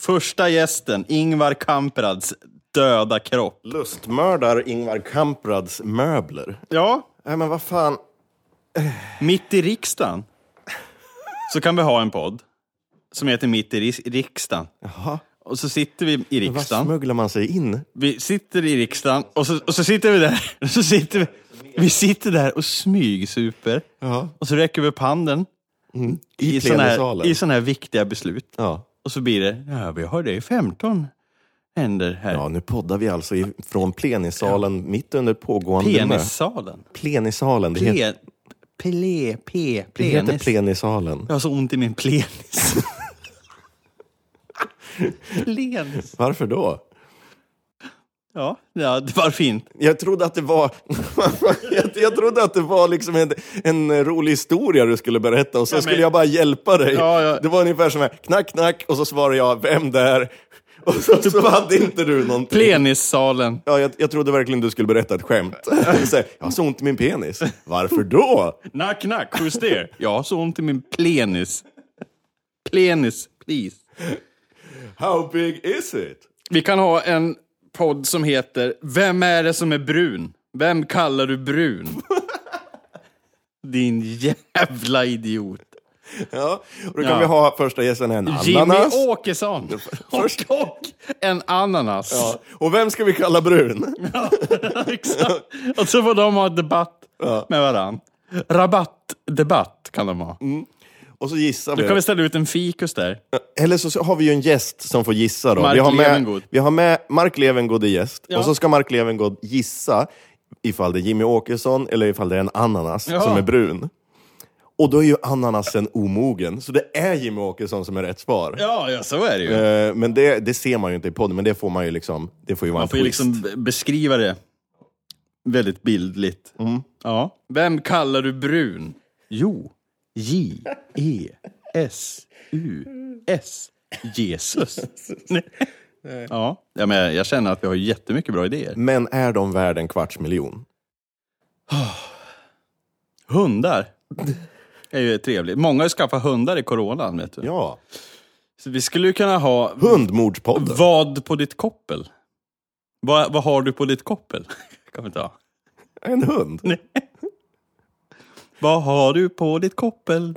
Speaker 2: Första gästen, Ingvar Kamprads döda kropp.
Speaker 3: Lustmördar Ingvar Kamprads möbler.
Speaker 2: Ja,
Speaker 3: Nej, men vad fan.
Speaker 2: mitt i riksdagen. Så kan vi ha en podd som heter Mitt i ris- riksdagen. Och så sitter vi i
Speaker 3: Vad
Speaker 2: riksdagen.
Speaker 3: smugglar man sig in?
Speaker 2: Vi sitter i riksdagen och så, och så sitter vi där. (laughs) Och så sitter vi, vi sitter där och smygsuper.
Speaker 3: Ja. Mm.
Speaker 2: Och så räcker vi upp handen
Speaker 3: I,
Speaker 2: i sådana här,
Speaker 3: plenisalen?
Speaker 2: i såna här viktiga beslut.
Speaker 3: Ja.
Speaker 2: Och så blir det, ja vi har det i 15 händer här.
Speaker 3: ja, nu poddar vi alltså i, från plenisalen mitt under pågående mö-
Speaker 2: Penissalen.
Speaker 3: Plenisalen. Det, heter,
Speaker 2: Ple, ple, pe,
Speaker 3: det heter
Speaker 2: plenis.
Speaker 3: plenisalen.
Speaker 2: Jag har så ont i min plenis. plenis.
Speaker 3: Varför då?
Speaker 2: Ja, ja, det var (laughs) fint.
Speaker 3: Jag trodde att det var, (laughs) jag, jag trodde att det var liksom en, en rolig historia du skulle berätta och så
Speaker 2: Ja, men-
Speaker 3: skulle jag bara hjälpa dig.
Speaker 2: Ja, ja.
Speaker 3: Det var ungefär som här, knack, knack, och så svarade jag, vem där? (laughs) Och så, så hade inte du någonting.
Speaker 2: Plenissalen.
Speaker 3: Ja, jag, jag trodde verkligen du skulle berätta ett skämt. (laughs) Så här, jag har så ont i min penis. Varför då?
Speaker 2: Knack, knack, skjuts ner. Jag har så ont i min plenis. Plenis, please.
Speaker 3: How big is it?
Speaker 2: Vi kan ha en podd som heter Vem är det som är brun? Vem kallar du brun? (laughs) Din jävla idiot.
Speaker 3: Ja, och då kan
Speaker 2: Ja.
Speaker 3: vi ha första gästen en
Speaker 2: Jimmy
Speaker 3: ananas.
Speaker 2: Åkesson. Och, och en ananas.
Speaker 3: Ja. Och vem ska vi kalla brun?
Speaker 2: (laughs) Exakt. Och så får de ha debatt med varann. Rabattdebatt kan de ha.
Speaker 3: Och så gissar
Speaker 2: Då kan
Speaker 3: vi.
Speaker 2: vi ställa ut en fikus där.
Speaker 3: Eller så har vi ju en gäst som får gissa då.
Speaker 2: Mark
Speaker 3: vi, har med,
Speaker 2: Levengood.
Speaker 3: vi har med Mark Levengood i gäst. Och så ska Mark Levengood gissa ifall det är Jimmy Åkesson eller ifall det är en ananas
Speaker 2: Ja.
Speaker 3: som är brun. Och då är ju ananasen omogen, så det är Jimmy Åkesson som är rätt svar.
Speaker 2: Ja, ja så är det ju.
Speaker 3: Eh, Men det, det ser man ju inte i podden, men det får man ju liksom, det får ju vara
Speaker 2: Man
Speaker 3: en
Speaker 2: får ju
Speaker 3: twist.
Speaker 2: liksom b- beskriva det väldigt bildligt. Ja. Vem kallar du brun? Jo, J-E-S-U-S. Jesus. Nej. ja. ja, men jag känner att vi har jättemycket bra idéer.
Speaker 3: Men är de värd en kvarts miljon?
Speaker 2: Hundar är ju trevligt. Många har ju skaffat hundar i coronan, vet du.
Speaker 3: Ja.
Speaker 2: Så vi skulle ju kunna ha
Speaker 3: Hundmordspodden.
Speaker 2: vad på ditt koppel. Vad, vad har du på ditt koppel? (laughs) kan vi inte ha.
Speaker 3: En hund.
Speaker 2: Vad har du på ditt koppel?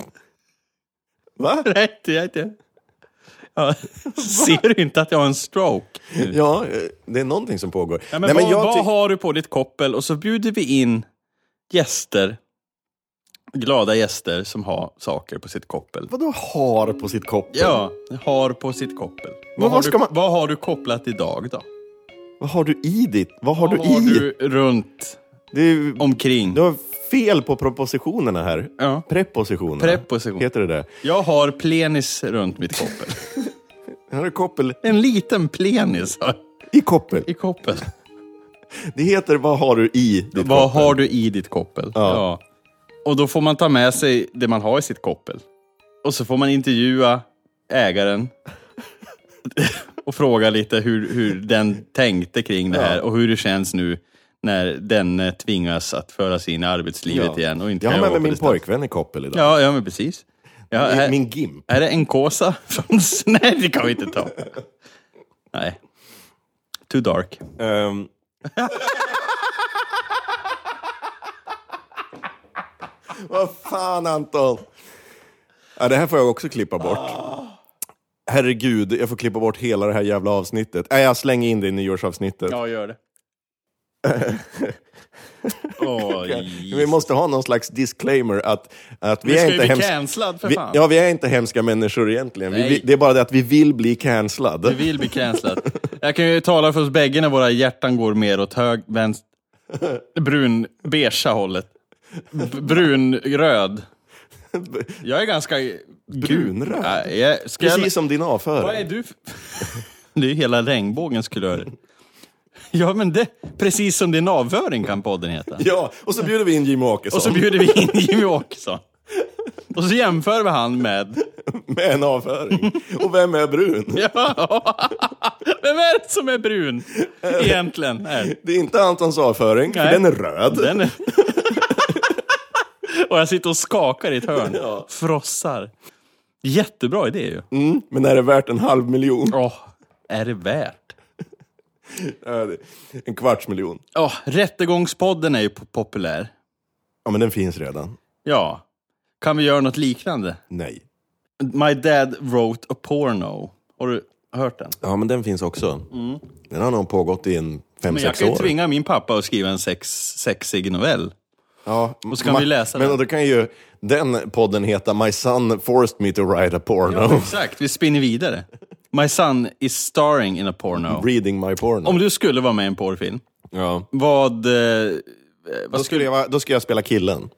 Speaker 2: (laughs)
Speaker 3: Va?
Speaker 2: Nej, det är inte.
Speaker 3: (laughs)
Speaker 2: Ja, ser du inte att jag har en stroke?
Speaker 3: Ja, eh, det är någonting som pågår.
Speaker 2: Ja, men
Speaker 3: Nej, men
Speaker 2: vad,
Speaker 3: jag
Speaker 2: vad
Speaker 3: tyck-
Speaker 2: har du på ditt koppel? Och så bjuder vi in gäster, glada gäster som har saker på sitt koppel.
Speaker 3: Vadå har på sitt koppel?
Speaker 2: Ja, har på sitt koppel. Vad
Speaker 3: vad
Speaker 2: har,
Speaker 3: ska
Speaker 2: du,
Speaker 3: man-
Speaker 2: vad har du kopplat idag då?
Speaker 3: Vad har du i ditt? Vad har
Speaker 2: vad
Speaker 3: du
Speaker 2: har
Speaker 3: i?
Speaker 2: du runt,
Speaker 3: Det är ju-
Speaker 2: omkring?
Speaker 3: du har fel på propositionerna här.
Speaker 2: Ja.
Speaker 3: Prepositionerna.
Speaker 2: Preposition.
Speaker 3: Heter det det?
Speaker 2: Jag har plenis runt mitt koppel.
Speaker 3: Har du koppel
Speaker 2: (laughs) En liten plenis har jag
Speaker 3: i koppel?
Speaker 2: i koppel.
Speaker 3: Det heter vad har du i ditt
Speaker 2: Vad
Speaker 3: koppel?
Speaker 2: har du i ditt koppel? Ja. Och då får man ta med sig det man har i sitt koppel. Och så får man intervjua
Speaker 3: (laughs)
Speaker 2: ägaren. och fråga lite hur, hur den tänkte kring det här och hur det känns nu när den eh, tvingas att föra sig in i arbetslivet igen. Och inte
Speaker 3: jag har
Speaker 2: kan
Speaker 3: med mig
Speaker 2: jobba på
Speaker 3: min
Speaker 2: distans.
Speaker 3: pojkvän i koppel idag.
Speaker 2: Ja, ja men precis. Ja,
Speaker 3: Min-
Speaker 2: här-
Speaker 3: Min GIMP.
Speaker 2: är det en kåsa (laughs) från... Nej, det kan vi inte ta. Nej. Too dark.
Speaker 3: Ehm. (laughs) Vad fan Anton! Ja, det här får jag också klippa bort. Herregud, jag får klippa bort hela det här jävla avsnittet. Nej, jag slänger in det i nyårsavsnittet.
Speaker 2: Ja, gör det. (laughs) Oj.
Speaker 3: Vi måste ha någon slags disclaimer att, att vi,
Speaker 2: Vi
Speaker 3: är
Speaker 2: ska ju
Speaker 3: inte
Speaker 2: bli
Speaker 3: hemska...
Speaker 2: cancellad, för
Speaker 3: Vi,
Speaker 2: fan.
Speaker 3: ja, vi är inte hemska människor egentligen. Vi,
Speaker 2: Nej.
Speaker 3: vi, det är bara det att vi vill bli cancellad.
Speaker 2: Vi vill bli cancellad. Jag kan ju tala för oss bägge när våra hjärtan går mer åt hög, vänster, brun, beiga hållet. B- brun, röd. Jag är ganska...
Speaker 3: Brunröd?
Speaker 2: Nej, jag, ska
Speaker 3: (laughs)
Speaker 2: jag,
Speaker 3: Precis som din
Speaker 2: Vad är
Speaker 3: avföring.
Speaker 2: du för... (laughs) Det är ju hela regnbågens kulörer. Ja, men det... Precis som din avföring kan podden heta.
Speaker 3: Ja, och så bjuder vi in Jimmie Åkesson
Speaker 2: Och så bjuder vi in Jimmy Åkesson. Och så jämför vi han med...
Speaker 3: (laughs) med en avföring. Och vem är brun?
Speaker 2: Ja. Vem är det som är brun egentligen? här?
Speaker 3: Det är inte Antons avföring, för
Speaker 2: Nej.
Speaker 3: den är röd.
Speaker 2: Den är... Och jag sitter och skakar i ett hörn. Frossar. Jättebra idé ju.
Speaker 3: Men är det värt en halv miljon?
Speaker 2: Åh, är det värt?
Speaker 3: Ja, det- En kvarts miljon.
Speaker 2: Ja, Rättegångspodden är ju po- populär.
Speaker 3: Ja, men den finns redan.
Speaker 2: Ja. Kan vi göra något liknande?
Speaker 3: Nej.
Speaker 2: My dad wrote a porno. Har du hört den?
Speaker 3: Ja, men den finns också. Den har nog pågått i en fem,
Speaker 2: Mm. Men jag
Speaker 3: sex
Speaker 2: kan ju
Speaker 3: år.
Speaker 2: tvinga min pappa att skriva en sex, sexig novell.
Speaker 3: Ja,
Speaker 2: Och så kan
Speaker 3: ma-
Speaker 2: vi läsa
Speaker 3: Men
Speaker 2: den.
Speaker 3: då kan ju den podden heta My son forced me to write a porno. (laughs)
Speaker 2: Exakt, vi spinner vidare. My son is starring in a porno.
Speaker 3: Reading my porno.
Speaker 2: Om du skulle vara med i en porrfilm,
Speaker 3: ja.
Speaker 2: vad... Eh,
Speaker 3: då,
Speaker 2: vad
Speaker 3: skulle
Speaker 2: skulle...
Speaker 3: jag, vara- då ska jag spela killen.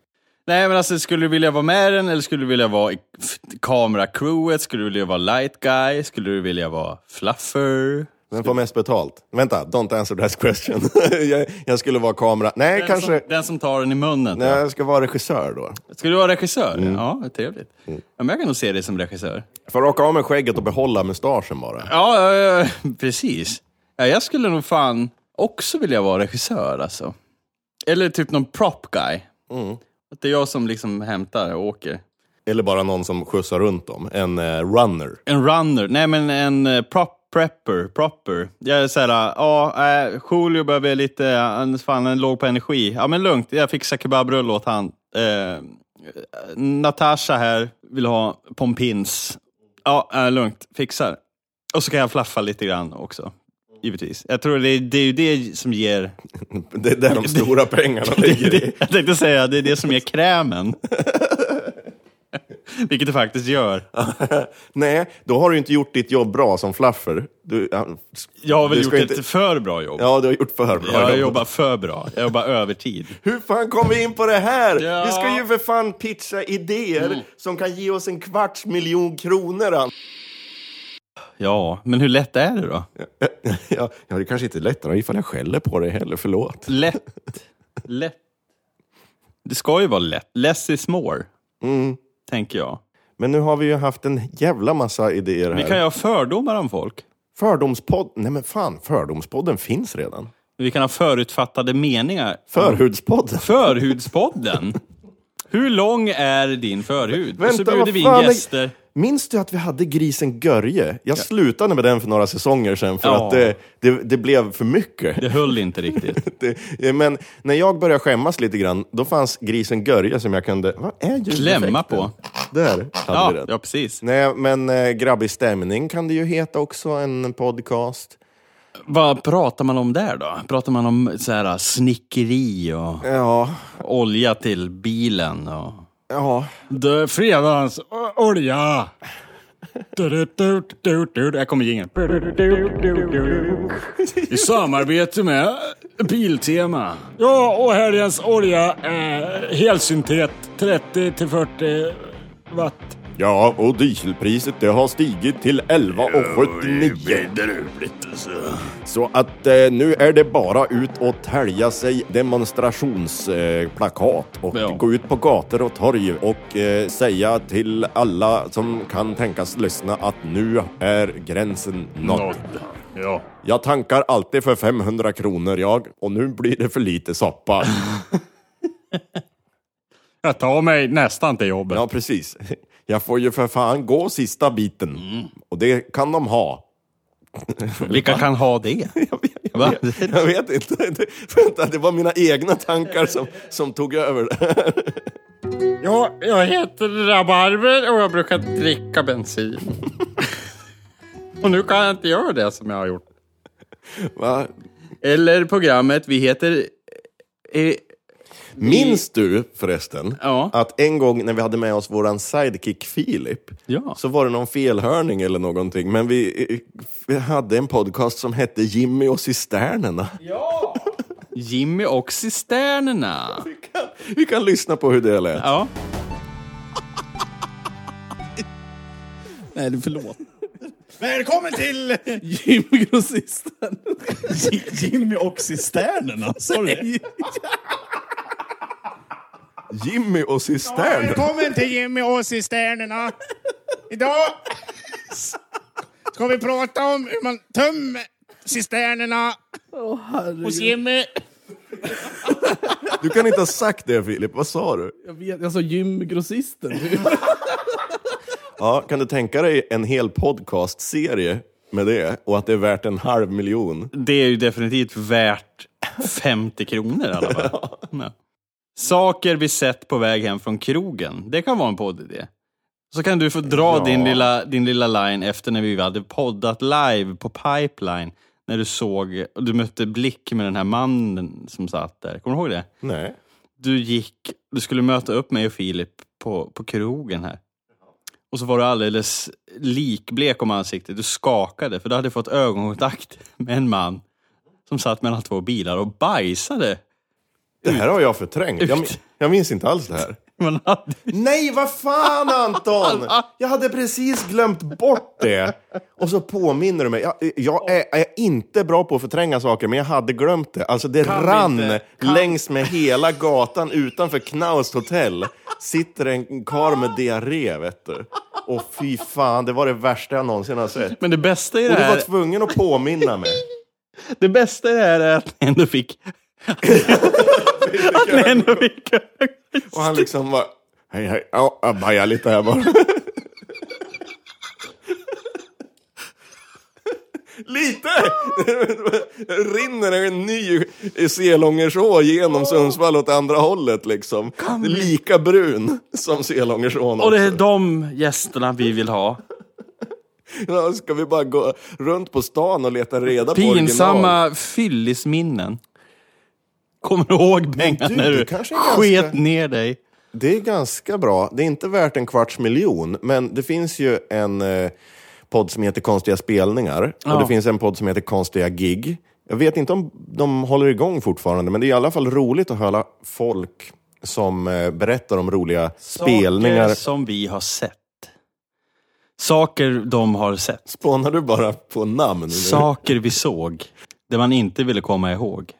Speaker 2: Nej men alltså, skulle du vilja vara med i den eller skulle du vilja vara i f- kameracrewet? Skulle du vilja vara light guy? Skulle du vilja vara fluffer?
Speaker 3: Vem får mest betalt? Vänta, don't answer that question. (laughs) jag, jag skulle vara kamera... Nej,
Speaker 2: Den
Speaker 3: kanske...
Speaker 2: Som, den som tar den i munnen.
Speaker 3: Nej, jag ska vara regissör då.
Speaker 2: Ska du vara regissör? Ja, vad trevligt. Ja, men jag kan nog se dig som regissör.
Speaker 3: Får jag raka av mig skägget och behålla mustaschen bara.
Speaker 2: Ja, ja, ja precis. Ja, jag skulle nog fan också vilja vara regissör alltså. Eller typ någon prop guy. Att det är jag som liksom hämtar och åker.
Speaker 3: Eller bara någon som skjutsar runt dem. En eh, runner. (laughs)
Speaker 2: En runner, nej men en eh, prop prepper, proper. Jag är såhär, ja, eh, Julio behöver lite, han fan han är låg på energi. Ja men lugnt, jag fixar kebabrulle åt han. Eh, Natasha här vill ha pompins. Ja, eh, lugnt, fixar. Och så kan jag flaffa lite grann också, givetvis. Jag tror det, det är ju det som ger...
Speaker 3: Det är där de stora
Speaker 2: (laughs)
Speaker 3: pengarna ligger i.
Speaker 2: Jag tänkte säga, det är det som ger krämen. (laughs) Vilket det faktiskt gör.
Speaker 3: (laughs) Nej, då har du inte gjort ditt jobb bra som fluffer. Du, ja,
Speaker 2: Jag har väl
Speaker 3: du
Speaker 2: gjort
Speaker 3: ska
Speaker 2: ett för bra jobb.
Speaker 3: Ja, du har gjort för bra
Speaker 2: Jag
Speaker 3: jobb.
Speaker 2: jobbar för bra. Jag jobbar övertid.
Speaker 3: Hur fan kom vi in på det här?
Speaker 2: Ja. Mm.
Speaker 3: Vi ska ju för fan pitcha idéer som kan ge oss en kvarts miljon kronor. Ann.
Speaker 2: Ja, men hur lätt är det då?
Speaker 3: Eh, (laughs) Ja, ja, det kanske inte är lättare ifall jag skäller på dig heller, förlåt.
Speaker 2: Lätt. Lätt. Det ska ju vara lätt. Less is more.
Speaker 3: Mm.
Speaker 2: Tänker jag.
Speaker 3: Men nu har vi ju haft en jävla massa idéer här.
Speaker 2: Vi kan ju ha fördomar om folk.
Speaker 3: Fördomspodden, nej men fan, Fördomspodden finns redan.
Speaker 2: Vi kan ha förutfattade meningar. (laughs)
Speaker 3: Förhudspodden.
Speaker 2: Förhudspodden. Hur lång är din förhud? Och så bjuder
Speaker 3: vad
Speaker 2: vi
Speaker 3: fan
Speaker 2: in
Speaker 3: är-
Speaker 2: gäster.
Speaker 3: Minns du att vi hade grisen Görje? Jag slutade med den för några säsonger sedan för
Speaker 2: Ja.
Speaker 3: att det, det, det blev för mycket.
Speaker 2: Det höll
Speaker 3: (laughs)
Speaker 2: inte riktigt.
Speaker 3: Det, eh, men när jag började skämmas lite grann, då fanns grisen Görje som jag kunde... Vad är ljudeffekten?
Speaker 2: Klämma på.
Speaker 3: Där hade vi
Speaker 2: Ja,
Speaker 3: den.
Speaker 2: ja precis.
Speaker 3: Nej, men äh, Grabbig stämning kan det ju heta också, en podcast.
Speaker 2: Vad pratar man om där då? Pratar man om så här, snickeri och
Speaker 3: Ja,
Speaker 2: olja till bilen? Och...
Speaker 3: ja.
Speaker 6: Det är fredags ö, olja. Du-du-du-du-du.
Speaker 2: Där kommer jingeln.
Speaker 6: I samarbete med...
Speaker 2: Biltema.
Speaker 6: Ja, och helgens olja är helsyntet 30 till 40 watt.
Speaker 3: Ja, och dieselpriset det har stigit till 11,79.
Speaker 2: Bedrövligt alltså.
Speaker 3: Så att eh, nu är det bara ut och tälja sig demonstrationsplakat eh, plakat och
Speaker 2: Ja.
Speaker 3: gå ut på gator och torg och eh, säga till alla som kan tänkas lyssna att nu är gränsen nådd.
Speaker 2: Ja.
Speaker 3: Jag tankar alltid för 500 kronor jag och nu blir det för lite
Speaker 2: (laughs)
Speaker 3: soppa.
Speaker 2: Jag tar mig nästan till jobbet.
Speaker 3: ja, precis. Jag får ju för fan gå sista biten
Speaker 2: Mm.
Speaker 3: och det kan de ha.
Speaker 2: Vilka kan ha det? Va?
Speaker 3: (laughs) Jag vet inte. Det, vänta, det var mina egna tankar som, som tog över (laughs) det.
Speaker 2: Ja, jag heter Rabarber och jag brukar dricka (laughs) bensin. och nu kan jag inte göra det som jag har gjort.
Speaker 3: Va?
Speaker 2: Eller programmet, vi heter... Eh,
Speaker 3: Minns du förresten
Speaker 2: Ja.
Speaker 3: att en gång när vi hade med oss våran sidekick Filip
Speaker 2: Ja.
Speaker 3: så var det någon felhörning eller någonting. Men vi, eh, vi hade en podcast som hette Jimmy och cisternerna.
Speaker 2: Jimmy och cisternerna.
Speaker 3: Vi, kan, vi kan lyssna på hur det lät.
Speaker 2: Ja.
Speaker 8: (laughs) Nej, förlåt. Välkommen till Jimmy Grossisten. (laughs) Jimmy och cisternerna, sa du det?
Speaker 3: Jimmy och cisternerna.
Speaker 9: Välkommen till Jimmy och cisternerna. Idag ska vi prata om hur man tömmer cisternerna hos Jimmy.
Speaker 3: Du kan inte ha sagt det Filip, vad sa du?
Speaker 8: Jag vet, jag sa Jimmy Grossisten.
Speaker 3: Ja, kan du tänka dig en hel podcastserie med det och att det är värt en halv miljon?
Speaker 2: Det är ju definitivt värt 50 kronor i alla fall. Ja. Saker vi sett på väg hem från krogen. Det kan vara en poddidé. Så kan du få dra din, lilla, din lilla line efter när vi hade poddat live på Pipeline. När du såg, och du mötte blick med den här mannen som satt där. Kommer du ihåg det?
Speaker 3: Nej.
Speaker 2: Du gick, du skulle möta upp mig och Filip på, på krogen här. Och så var du alldeles likblek om ansiktet. Du skakade för du hade fått ögonkontakt med en man som satt mellan två bilar och bajsade.
Speaker 3: Det här har jag förträngt. Jag, min-
Speaker 2: Ut.
Speaker 3: jag minns inte alls det här.
Speaker 2: Man hade,
Speaker 3: Nej, vad
Speaker 2: (laughs)
Speaker 3: fan Anton! Jag hade precis glömt bort det. Och så påminner du mig. Jag, jag är, är inte bra på att förtränga saker, men jag hade glömt det. Alltså det rann längs med hela gatan utanför Knaust hotell. Sitter en karl med diarré, vet du. Och fy fan, det var det värsta jag någonsin har sett.
Speaker 2: men det bästa i det
Speaker 3: Och du var
Speaker 2: här,
Speaker 3: tvungen att påminna mig.
Speaker 2: det bästa i det här är att ni
Speaker 3: (laughs)
Speaker 2: ändå fick... att ni ändå fick...
Speaker 3: Och han liksom bara... Hej, hej. Ja, jag bajar lite här bara. lite! rinner en ny Selångerså genom Sundsvall åt andra hållet liksom. Lika brun som Selångersån
Speaker 2: Och det är
Speaker 3: också.
Speaker 2: de gästerna vi vill ha.
Speaker 3: Ja, Ska vi bara gå runt på stan och leta reda på original?
Speaker 2: Pinsamma fyllisminnen. Kommer du ihåg Bengan
Speaker 3: du,
Speaker 2: när
Speaker 3: det
Speaker 2: du
Speaker 3: kanske är
Speaker 2: sket
Speaker 3: ganska-
Speaker 2: ner dig?
Speaker 3: Det är ganska bra. Det är inte värt en kvarts miljon, men det finns ju en eh, podd som heter Konstiga spelningar och det finns en podd som heter Konstiga gig. Jag vet inte om de håller igång fortfarande, men det är i alla fall roligt att höra folk som eh, berättar om roliga spelningar.
Speaker 2: Saker som vi har sett. Saker de har sett.
Speaker 3: Spånar du bara på namn? nu?
Speaker 2: Saker vi såg. Det man inte ville komma ihåg.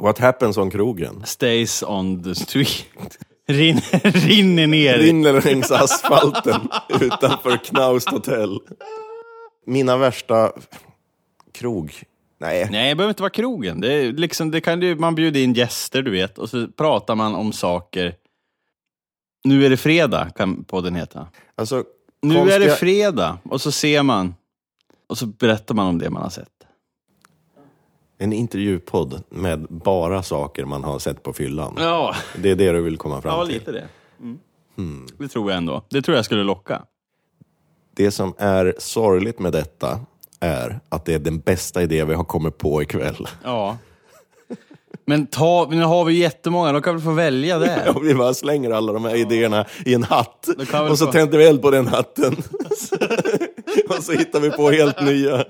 Speaker 3: What happens on krogen?
Speaker 2: Stays on the street. (laughs) Rinner, rinner ner.
Speaker 3: Rinner längs asfalten (laughs) utanför Knaust hotell. Mina värsta krog... Nej,
Speaker 2: Nej, det behöver inte vara krogen. Det är liksom, det kan, ju- man bjuder in gäster, du vet, och så pratar man om saker. Nu är det fredag, kan podden heta.
Speaker 3: alltså...
Speaker 2: Nu är det
Speaker 3: konstiga-
Speaker 2: fredag och så ser man och så berättar man om det man har sett.
Speaker 3: En intervjupodd med bara saker man har sett på fyllan.
Speaker 2: Ja,
Speaker 3: Det är det du vill komma fram
Speaker 2: ja
Speaker 3: till.
Speaker 2: lite det. Mm.
Speaker 3: Hmm.
Speaker 2: Det tror jag ändå. Det tror jag skulle locka.
Speaker 3: Det som är sorgligt med detta är att det är den bästa idé vi har kommit på ikväll.
Speaker 2: Ja. Men ta, nu har vi jättemånga, då kan vi få välja det.
Speaker 3: Och (laughs) vi bara slänger alla de här idéerna i en hatt
Speaker 2: kan vi
Speaker 3: och så
Speaker 2: få-
Speaker 3: tänder vi eld på den hatten. (laughs) och så hittar vi på helt nya.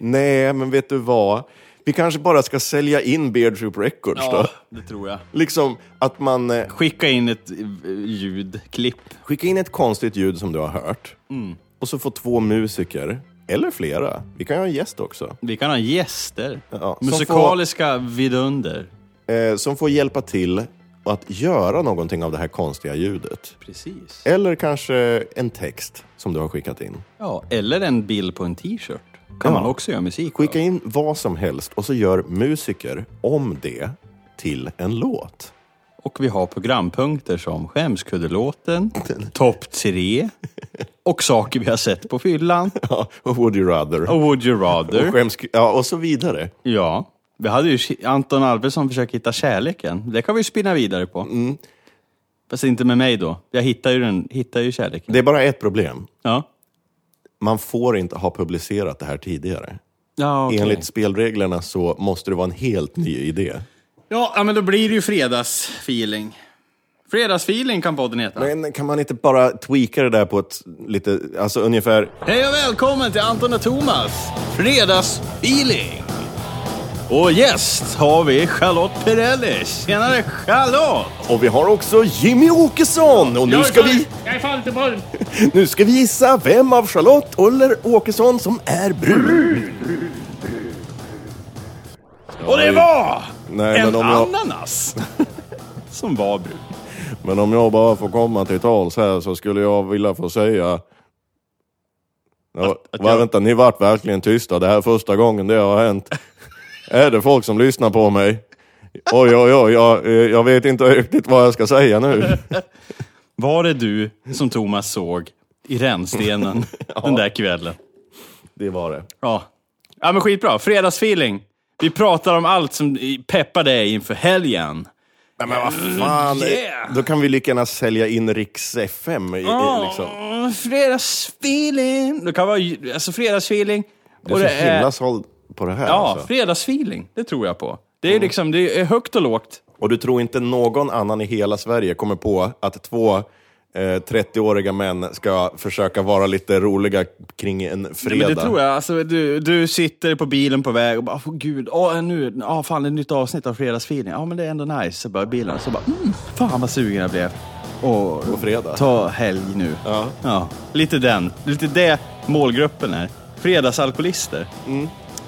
Speaker 3: Nej, men vet du vad? Vi kanske bara ska sälja in Beard Troop Records då.
Speaker 2: Ja, det tror jag.
Speaker 3: Liksom att man eh,
Speaker 2: Skicka in ett eh, ljudklipp.
Speaker 3: Skicka in ett konstigt ljud som du har hört.
Speaker 2: Mm.
Speaker 3: Och så får två musiker, eller flera, vi kan ju ha en gäst också,
Speaker 2: Vi kan ha gäster.
Speaker 3: Ja, som
Speaker 2: Musikaliska vidunder.
Speaker 3: eh, som får hjälpa till att göra någonting av det här konstiga ljudet.
Speaker 2: Precis.
Speaker 3: Eller kanske en text som du har skickat in.
Speaker 2: Ja, eller en bild på en t-shirt. Kan man också göra musik
Speaker 3: Skicka
Speaker 2: av.
Speaker 3: in vad som helst och så gör musiker om det till en låt. (laughs)
Speaker 2: Och vi har programpunkter
Speaker 3: (laughs)
Speaker 2: som Skämskuddelåten, Topp 3 och saker vi har sett på fyllan.
Speaker 3: Ja, och Would you rather?
Speaker 2: Och Would you rather?
Speaker 3: Och, skäms- ja, och så vidare.
Speaker 2: Ja. Vi hade ju Anton Alvesson försöker hitta kärleken. Det kan vi spinna vidare på.
Speaker 3: Mm.
Speaker 2: Fast inte med mig då. Jag hittar ju, den, hittar ju kärleken.
Speaker 3: Det är bara ett problem.
Speaker 2: Ja.
Speaker 3: Man får inte ha publicerat det här tidigare.
Speaker 2: Ja, okej.
Speaker 3: Enligt spelreglerna så måste det vara en helt ny idé.
Speaker 2: ja, ja, men då blir det ju fredagsfeeling. Fredagsfeeling kan podden heta.
Speaker 3: Men kan man inte bara tweaka det där på ett lite, alltså ungefär...
Speaker 2: Hej och välkommen till Anton och Thomas fredagsfeeling. Och gäst har vi Charlotte Perrelli. Tjenare Charlotte!
Speaker 3: Och vi har också Jimmy Åkesson! Och nu ska vi,
Speaker 6: Jag är fan inte brun.
Speaker 3: nu ska vi gissa vem av Charlotte eller Åkesson som är brun.
Speaker 2: Och det var
Speaker 3: Nej,
Speaker 2: en
Speaker 3: men om, jag,
Speaker 2: ananas (laughs) som var brun.
Speaker 3: men om jag bara får komma till tals här så skulle jag vilja få säga... Ja,
Speaker 2: att
Speaker 3: va,
Speaker 2: jag-
Speaker 3: Vänta, ni vart verkligen tysta. Det här är första gången det har hänt. är det folk som lyssnar på mig? Oj, oj, oj, jag, eh, jag vet inte riktigt vad jag ska säga nu.
Speaker 2: (laughs) Var det du som Thomas såg
Speaker 3: (laughs)
Speaker 2: i rännstenen den där kvällen?
Speaker 3: Det var det.
Speaker 2: Ja. ja, men skitbra. Fredagsfeeling. Vi pratar om allt som i- peppar dig inför helgen.
Speaker 3: Nej, men vad fan. eh,
Speaker 2: yeah.
Speaker 3: Då kan vi lika gärna sälja in Riks FM. I, i, liksom.
Speaker 2: Åh, fredagsfeeling. Det kan vara ju- alltså, fredagsfeeling.
Speaker 3: Du är så himla såld på det här.
Speaker 2: Ja,
Speaker 3: alltså.
Speaker 2: fredagsfeeling. Det tror jag på. Det är liksom, det är högt och lågt.
Speaker 3: Och du tror inte någon annan i hela Sverige kommer på att två eh, 30-åriga män ska försöka vara lite roliga kring en fredag?
Speaker 2: Men det tror jag. Alltså, du, du sitter på bilen på väg och bara, åh gud, åh, nu, åh, fan, det är ett nytt avsnitt av fredagsfeeling. Ja, men det är ändå nice. Så bara bilen, så bara, mm, fan vad sugen jag blev. Och,
Speaker 3: På fredag?
Speaker 2: Ta helg nu.
Speaker 3: Ja.
Speaker 2: Lite den, lite det målgruppen är. Fredagsalkoholister.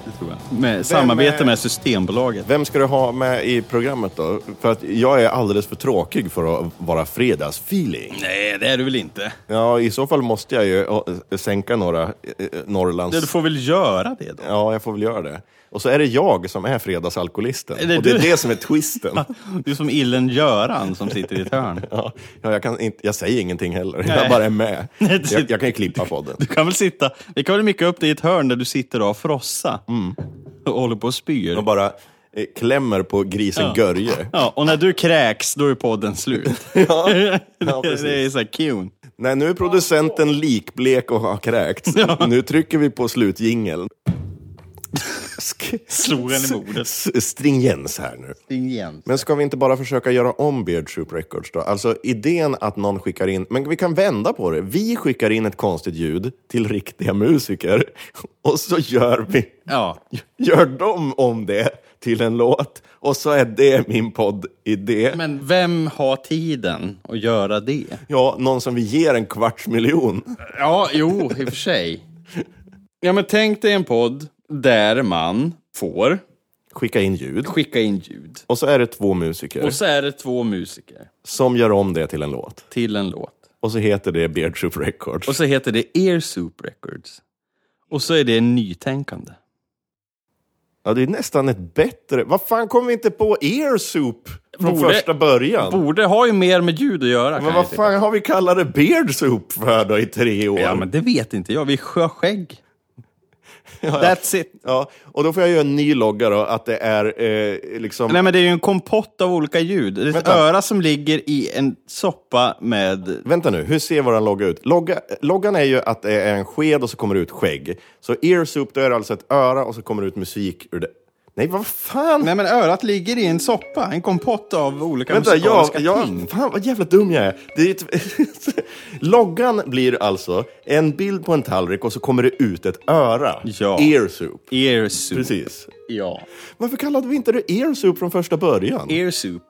Speaker 2: Det tror jag. Med samarbete
Speaker 3: Mm. är-
Speaker 2: med Systembolaget.
Speaker 3: Vem ska du ha med i programmet då? För att jag är alldeles för tråkig för att vara fredagsfeeling.
Speaker 2: Nej, det är du väl inte?
Speaker 3: Ja, i så fall måste jag ju eh, sänka några eh, eh, Norrlands...
Speaker 2: Du får väl göra det då.
Speaker 3: Ja, jag får väl göra det. Och så är det jag som är fredagsalkoholisten.
Speaker 2: Är det
Speaker 3: och det är
Speaker 2: du?
Speaker 3: det som är
Speaker 2: (laughs)
Speaker 3: twisten.
Speaker 2: Du är som illen Göran som sitter i ett hörn.
Speaker 3: Ja, ja, jag, kan inte, jag säger ingenting heller,
Speaker 2: Nej.
Speaker 3: jag bara är med.
Speaker 2: (laughs) Nej, det-
Speaker 3: Jag, jag kan ju klippa podden.
Speaker 2: Du kan väl sitta, vi kan väl micka upp dig i ett hörn där du sitter och har frossa och håller på och spyr.
Speaker 3: Och bara eh, klämmer på grisen Görje.
Speaker 2: Ja, och när du kräks, då är podden (laughs) slut.
Speaker 3: Ja, precis.
Speaker 2: det är så här cute.
Speaker 3: Nej, nu är producenten likblek och har kräkts. Nu trycker vi på slutjingeln. Sk-
Speaker 2: Slog han i bordet.
Speaker 3: s- Stringens här nu. Men ska vi inte bara försöka göra om Beard Troop Records då? Alltså idén att någon skickar in, men vi kan vända på det. Vi skickar in ett konstigt ljud till riktiga musiker (laughs) och så gör vi,
Speaker 2: Ja,
Speaker 3: gör de om det till en låt och så är det min poddidé.
Speaker 2: men vem har tiden att göra det?
Speaker 3: Ja, någon som vi ger en kvarts miljon.
Speaker 2: Ja, jo, i och för sig. Ja, men tänk dig en podd där man får
Speaker 3: Skicka in ljud.
Speaker 2: skicka in ljud.
Speaker 3: Och så är det två musiker
Speaker 2: Och så är det två musiker
Speaker 3: som gör om det till en låt.
Speaker 2: till en låt.
Speaker 3: Och så heter det Beard Troop Records.
Speaker 2: Och så heter det Air Soup Records. Och så är det nytänkande.
Speaker 3: Ja, det är nästan ett bättre... Vad fan kom vi inte på Air Soup från
Speaker 2: Borde-
Speaker 3: första början?
Speaker 2: Borde ha ju mer med ljud att göra. kan
Speaker 3: Men
Speaker 2: jag
Speaker 3: vad
Speaker 2: tycka.
Speaker 3: fan har vi kallat det Beard Soup för då i tre år?
Speaker 2: Ja, men det vet inte jag. Vi skör skägg. That's it.
Speaker 3: Ja, och då får jag göra en ny logga då, att det är eh, liksom...
Speaker 2: Nej, men det är ju en kompott av olika ljud. Det är ett
Speaker 3: Vänta.
Speaker 2: öra som ligger i en soppa med...
Speaker 3: Vänta nu, hur ser våran logga ut? Logga, loggan är ju att det är en sked och så kommer det ut skägg. Så Ear Soup, då är det alltså ett öra och så kommer det ut musik ur det. Nej, vad fan!
Speaker 2: Nej men örat ligger i en soppa, en kompott av olika
Speaker 3: Vänta, jag,
Speaker 2: musikaliska ting.
Speaker 3: jag, fan vad jävla dum jag är. Det är ett, (laughs) loggan blir alltså en bild på en tallrik och så kommer det ut ett öra.
Speaker 2: Ja.
Speaker 3: Ear soup.
Speaker 2: Ear soup.
Speaker 3: Precis.
Speaker 2: Ja.
Speaker 3: Varför kallade vi inte det ear soup från första början?
Speaker 2: Ear soup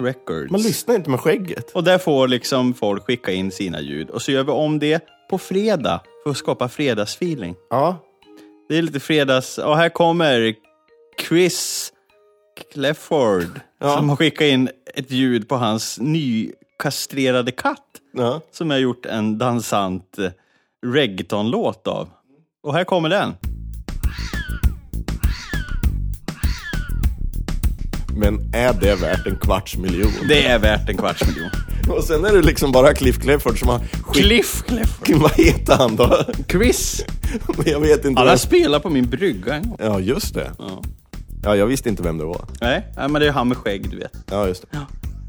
Speaker 2: records.
Speaker 3: Man lyssnar inte med skägget.
Speaker 2: Och där får liksom folk skicka in sina ljud. Och så gör vi om det på fredag för att skapa fredagsfeeling.
Speaker 3: Ja,
Speaker 2: Det är lite fredags... Och här kommer Chris Clefford
Speaker 3: Ja.
Speaker 2: som har skickat in ett ljud på hans nykastrerade katt
Speaker 3: ja.
Speaker 2: som jag gjort en dansant eh, reggaeton-låt av. Och här kommer den.
Speaker 3: Men är det värt en kvarts miljon? (laughs)
Speaker 2: Det är värt en kvarts miljon.
Speaker 3: Och sen är det liksom bara Cliff Clifford som har skickat...
Speaker 2: Cliff
Speaker 3: (laughs)
Speaker 2: Clefford.
Speaker 3: Vad heter han då? (laughs)
Speaker 2: Chris.
Speaker 3: jag vet inte.
Speaker 2: Alla
Speaker 3: vem-
Speaker 2: spelar på min brygga en gång.
Speaker 3: Ja, just det. Ja. jag visste inte vem det var.
Speaker 2: Nej, nej, men det är han med skägg, du vet.
Speaker 3: Ja, just det.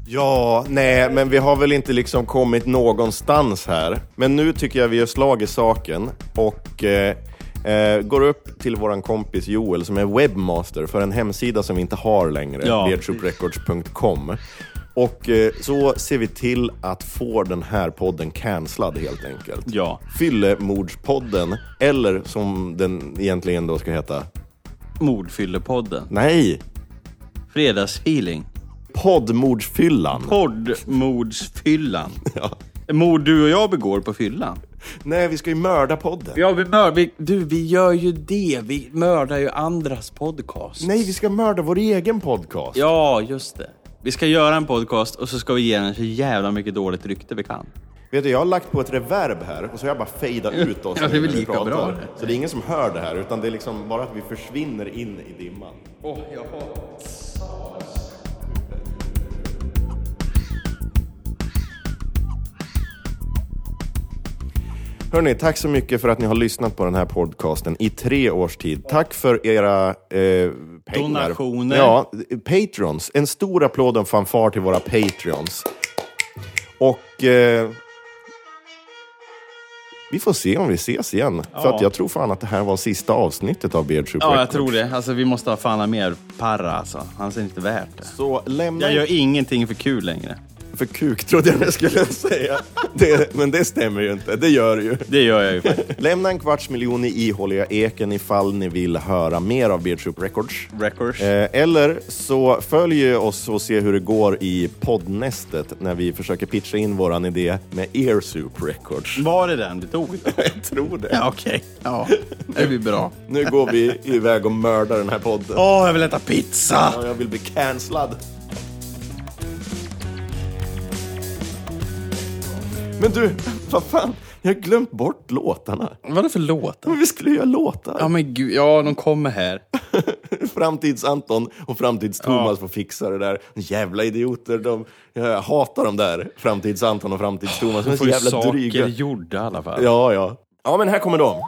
Speaker 3: Ja. nej, men vi har väl inte liksom kommit någonstans här. Men nu tycker jag vi gör slag i saken och eh, eh, går upp till våran kompis Joel som är webbmaster för en hemsida som vi inte har längre,
Speaker 2: Ja.
Speaker 3: leadershiprecords.com. Och eh, så ser vi till att få den här podden cancellad helt enkelt.
Speaker 2: Ja.
Speaker 3: Fyllemordspodden, eller som den egentligen då ska heta.
Speaker 2: Mordfyllepodden.
Speaker 3: Nej!
Speaker 2: Fredagsfeeling.
Speaker 3: Poddmordsfyllan.
Speaker 2: Poddmordsfyllan.
Speaker 3: Ja.
Speaker 2: Mord du och jag begår på fyllan.
Speaker 3: Nej, vi ska ju mörda podden.
Speaker 2: Ja, vi mör, vi, du, vi gör ju det. Vi mördar ju andras podcast.
Speaker 3: Nej, vi ska mörda vår egen podcast.
Speaker 2: Ja, just det. Vi ska göra en podcast och så ska vi ge den så jävla mycket dåligt rykte vi kan.
Speaker 3: Vet du, jag har lagt på ett reverb här och så har jag bara fejdat ut oss.
Speaker 2: Ja, det
Speaker 3: nu
Speaker 2: är väl
Speaker 3: när vi
Speaker 2: lika
Speaker 3: pratar.
Speaker 2: bra det.
Speaker 3: Så det är ingen som hör det här, utan det är liksom bara att vi försvinner in i dimman. Hörni, tack så mycket för att ni har lyssnat på den här podcasten i tre års tid. Tack för era eh, pengar.
Speaker 2: Donationer.
Speaker 3: Ja, Patreons. En stor applåd och fanfar till våra Patreons. Och... Eh, vi får se om vi ses igen. För att jag tror fan att det här var sista avsnittet av Beard Soup
Speaker 2: Ja, jag
Speaker 3: Records.
Speaker 2: tror det. Alltså, vi måste ha fan mer parra alltså. Han ser inte värt det.
Speaker 3: Så lämna
Speaker 2: Jag gör ingenting för kul längre.
Speaker 3: för kuk trodde jag jag skulle säga. Det, men det stämmer ju inte, det gör det ju.
Speaker 2: Det gör jag ju faktiskt.
Speaker 3: Lämna en kvarts miljon i ihåliga eken ifall ni vill höra mer av Beard Soup Records.
Speaker 2: Records.
Speaker 3: Eh, Eller så följ oss och se hur det går i poddnästet när vi försöker pitcha in våran idé med Ear Soup Records. (laughs)
Speaker 2: (laughs) Var är den du tog?
Speaker 3: Jag tror det.
Speaker 2: Ja, (laughs) okej. Ja, det blir bra.
Speaker 3: Nu går vi iväg och mördar den här podden.
Speaker 2: Åh, jag vill äta pizza!
Speaker 3: Ja, Jag vill bli cancellad. Men du, vad fan? Jag har glömt bort låtarna.
Speaker 2: Vad är det för låt?
Speaker 3: Men vi skulle ju göra låtar.
Speaker 2: Ja, men gud. Ja, de kommer här.
Speaker 3: Framtids-Anton och Framtids-Thomas får fixa det där. Jävla idioter. De, jag hatar de där. Framtids-Anton och Framtids-Thomas. De är så
Speaker 2: Får ju
Speaker 3: jävla
Speaker 2: saker
Speaker 3: dryga.
Speaker 2: gjorda i alla fall.
Speaker 3: Ja, ja. Ja, men här kommer de.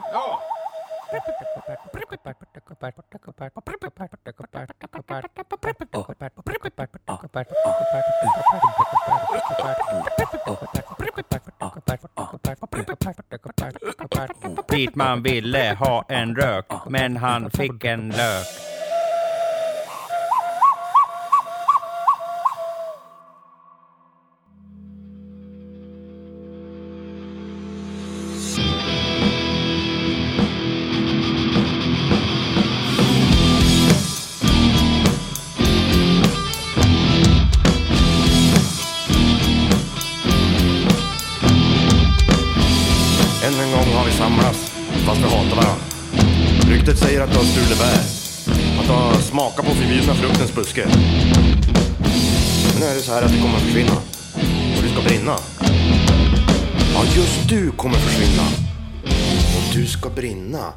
Speaker 10: Pittman ville ha en rök, men han fick en lök.
Speaker 3: Än en gång har vi samlats, fast vi hatar varandra. Ryktet säger att du har stulit bär. Att du har smakat på förbjudna fruktens buske. Men nu är det så här att vi kommer att försvinna. Och du ska brinna. Ja, just du kommer att försvinna. Och du ska brinna.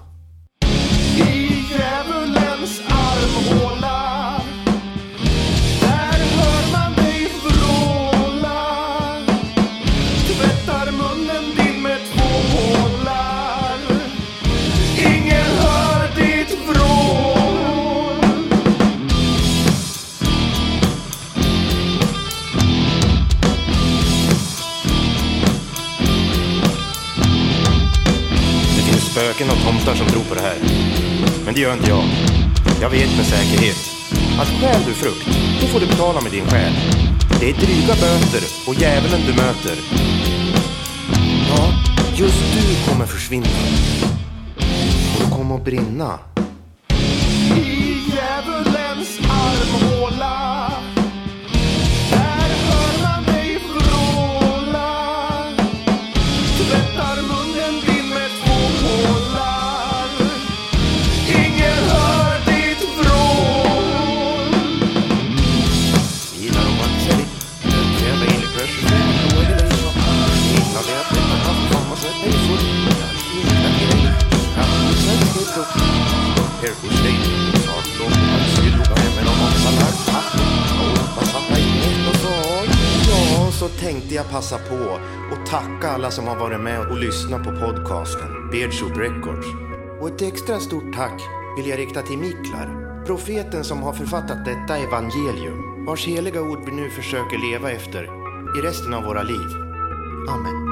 Speaker 3: I djävulens armhåla Där hör man dig vråla tvättar munnen din med två nålar. Ingen hör ditt vrål. Det finns spöken och tomtar som tror på det här. Men det gör inte jag. Jag vet med säkerhet att stjäl du frukt, då får du betala med din själ. Det är dryga böter och djävulen du möter. Ja, just du kommer försvinna. Och du kommer att brinna.
Speaker 11: I djävulens armhåla Där hör man mig vråla Tvättar munnen din med två pålar Ingen hör ditt vrål
Speaker 3: Ja, så tänkte jag passa på och tacka alla som har varit med och lyssnat på podcasten Beardshoot Records. Och ett extra stort tack vill jag rikta till Miklar, profeten som har författat detta evangelium, vars heliga ord vi nu försöker leva efter i resten av våra liv. Amen.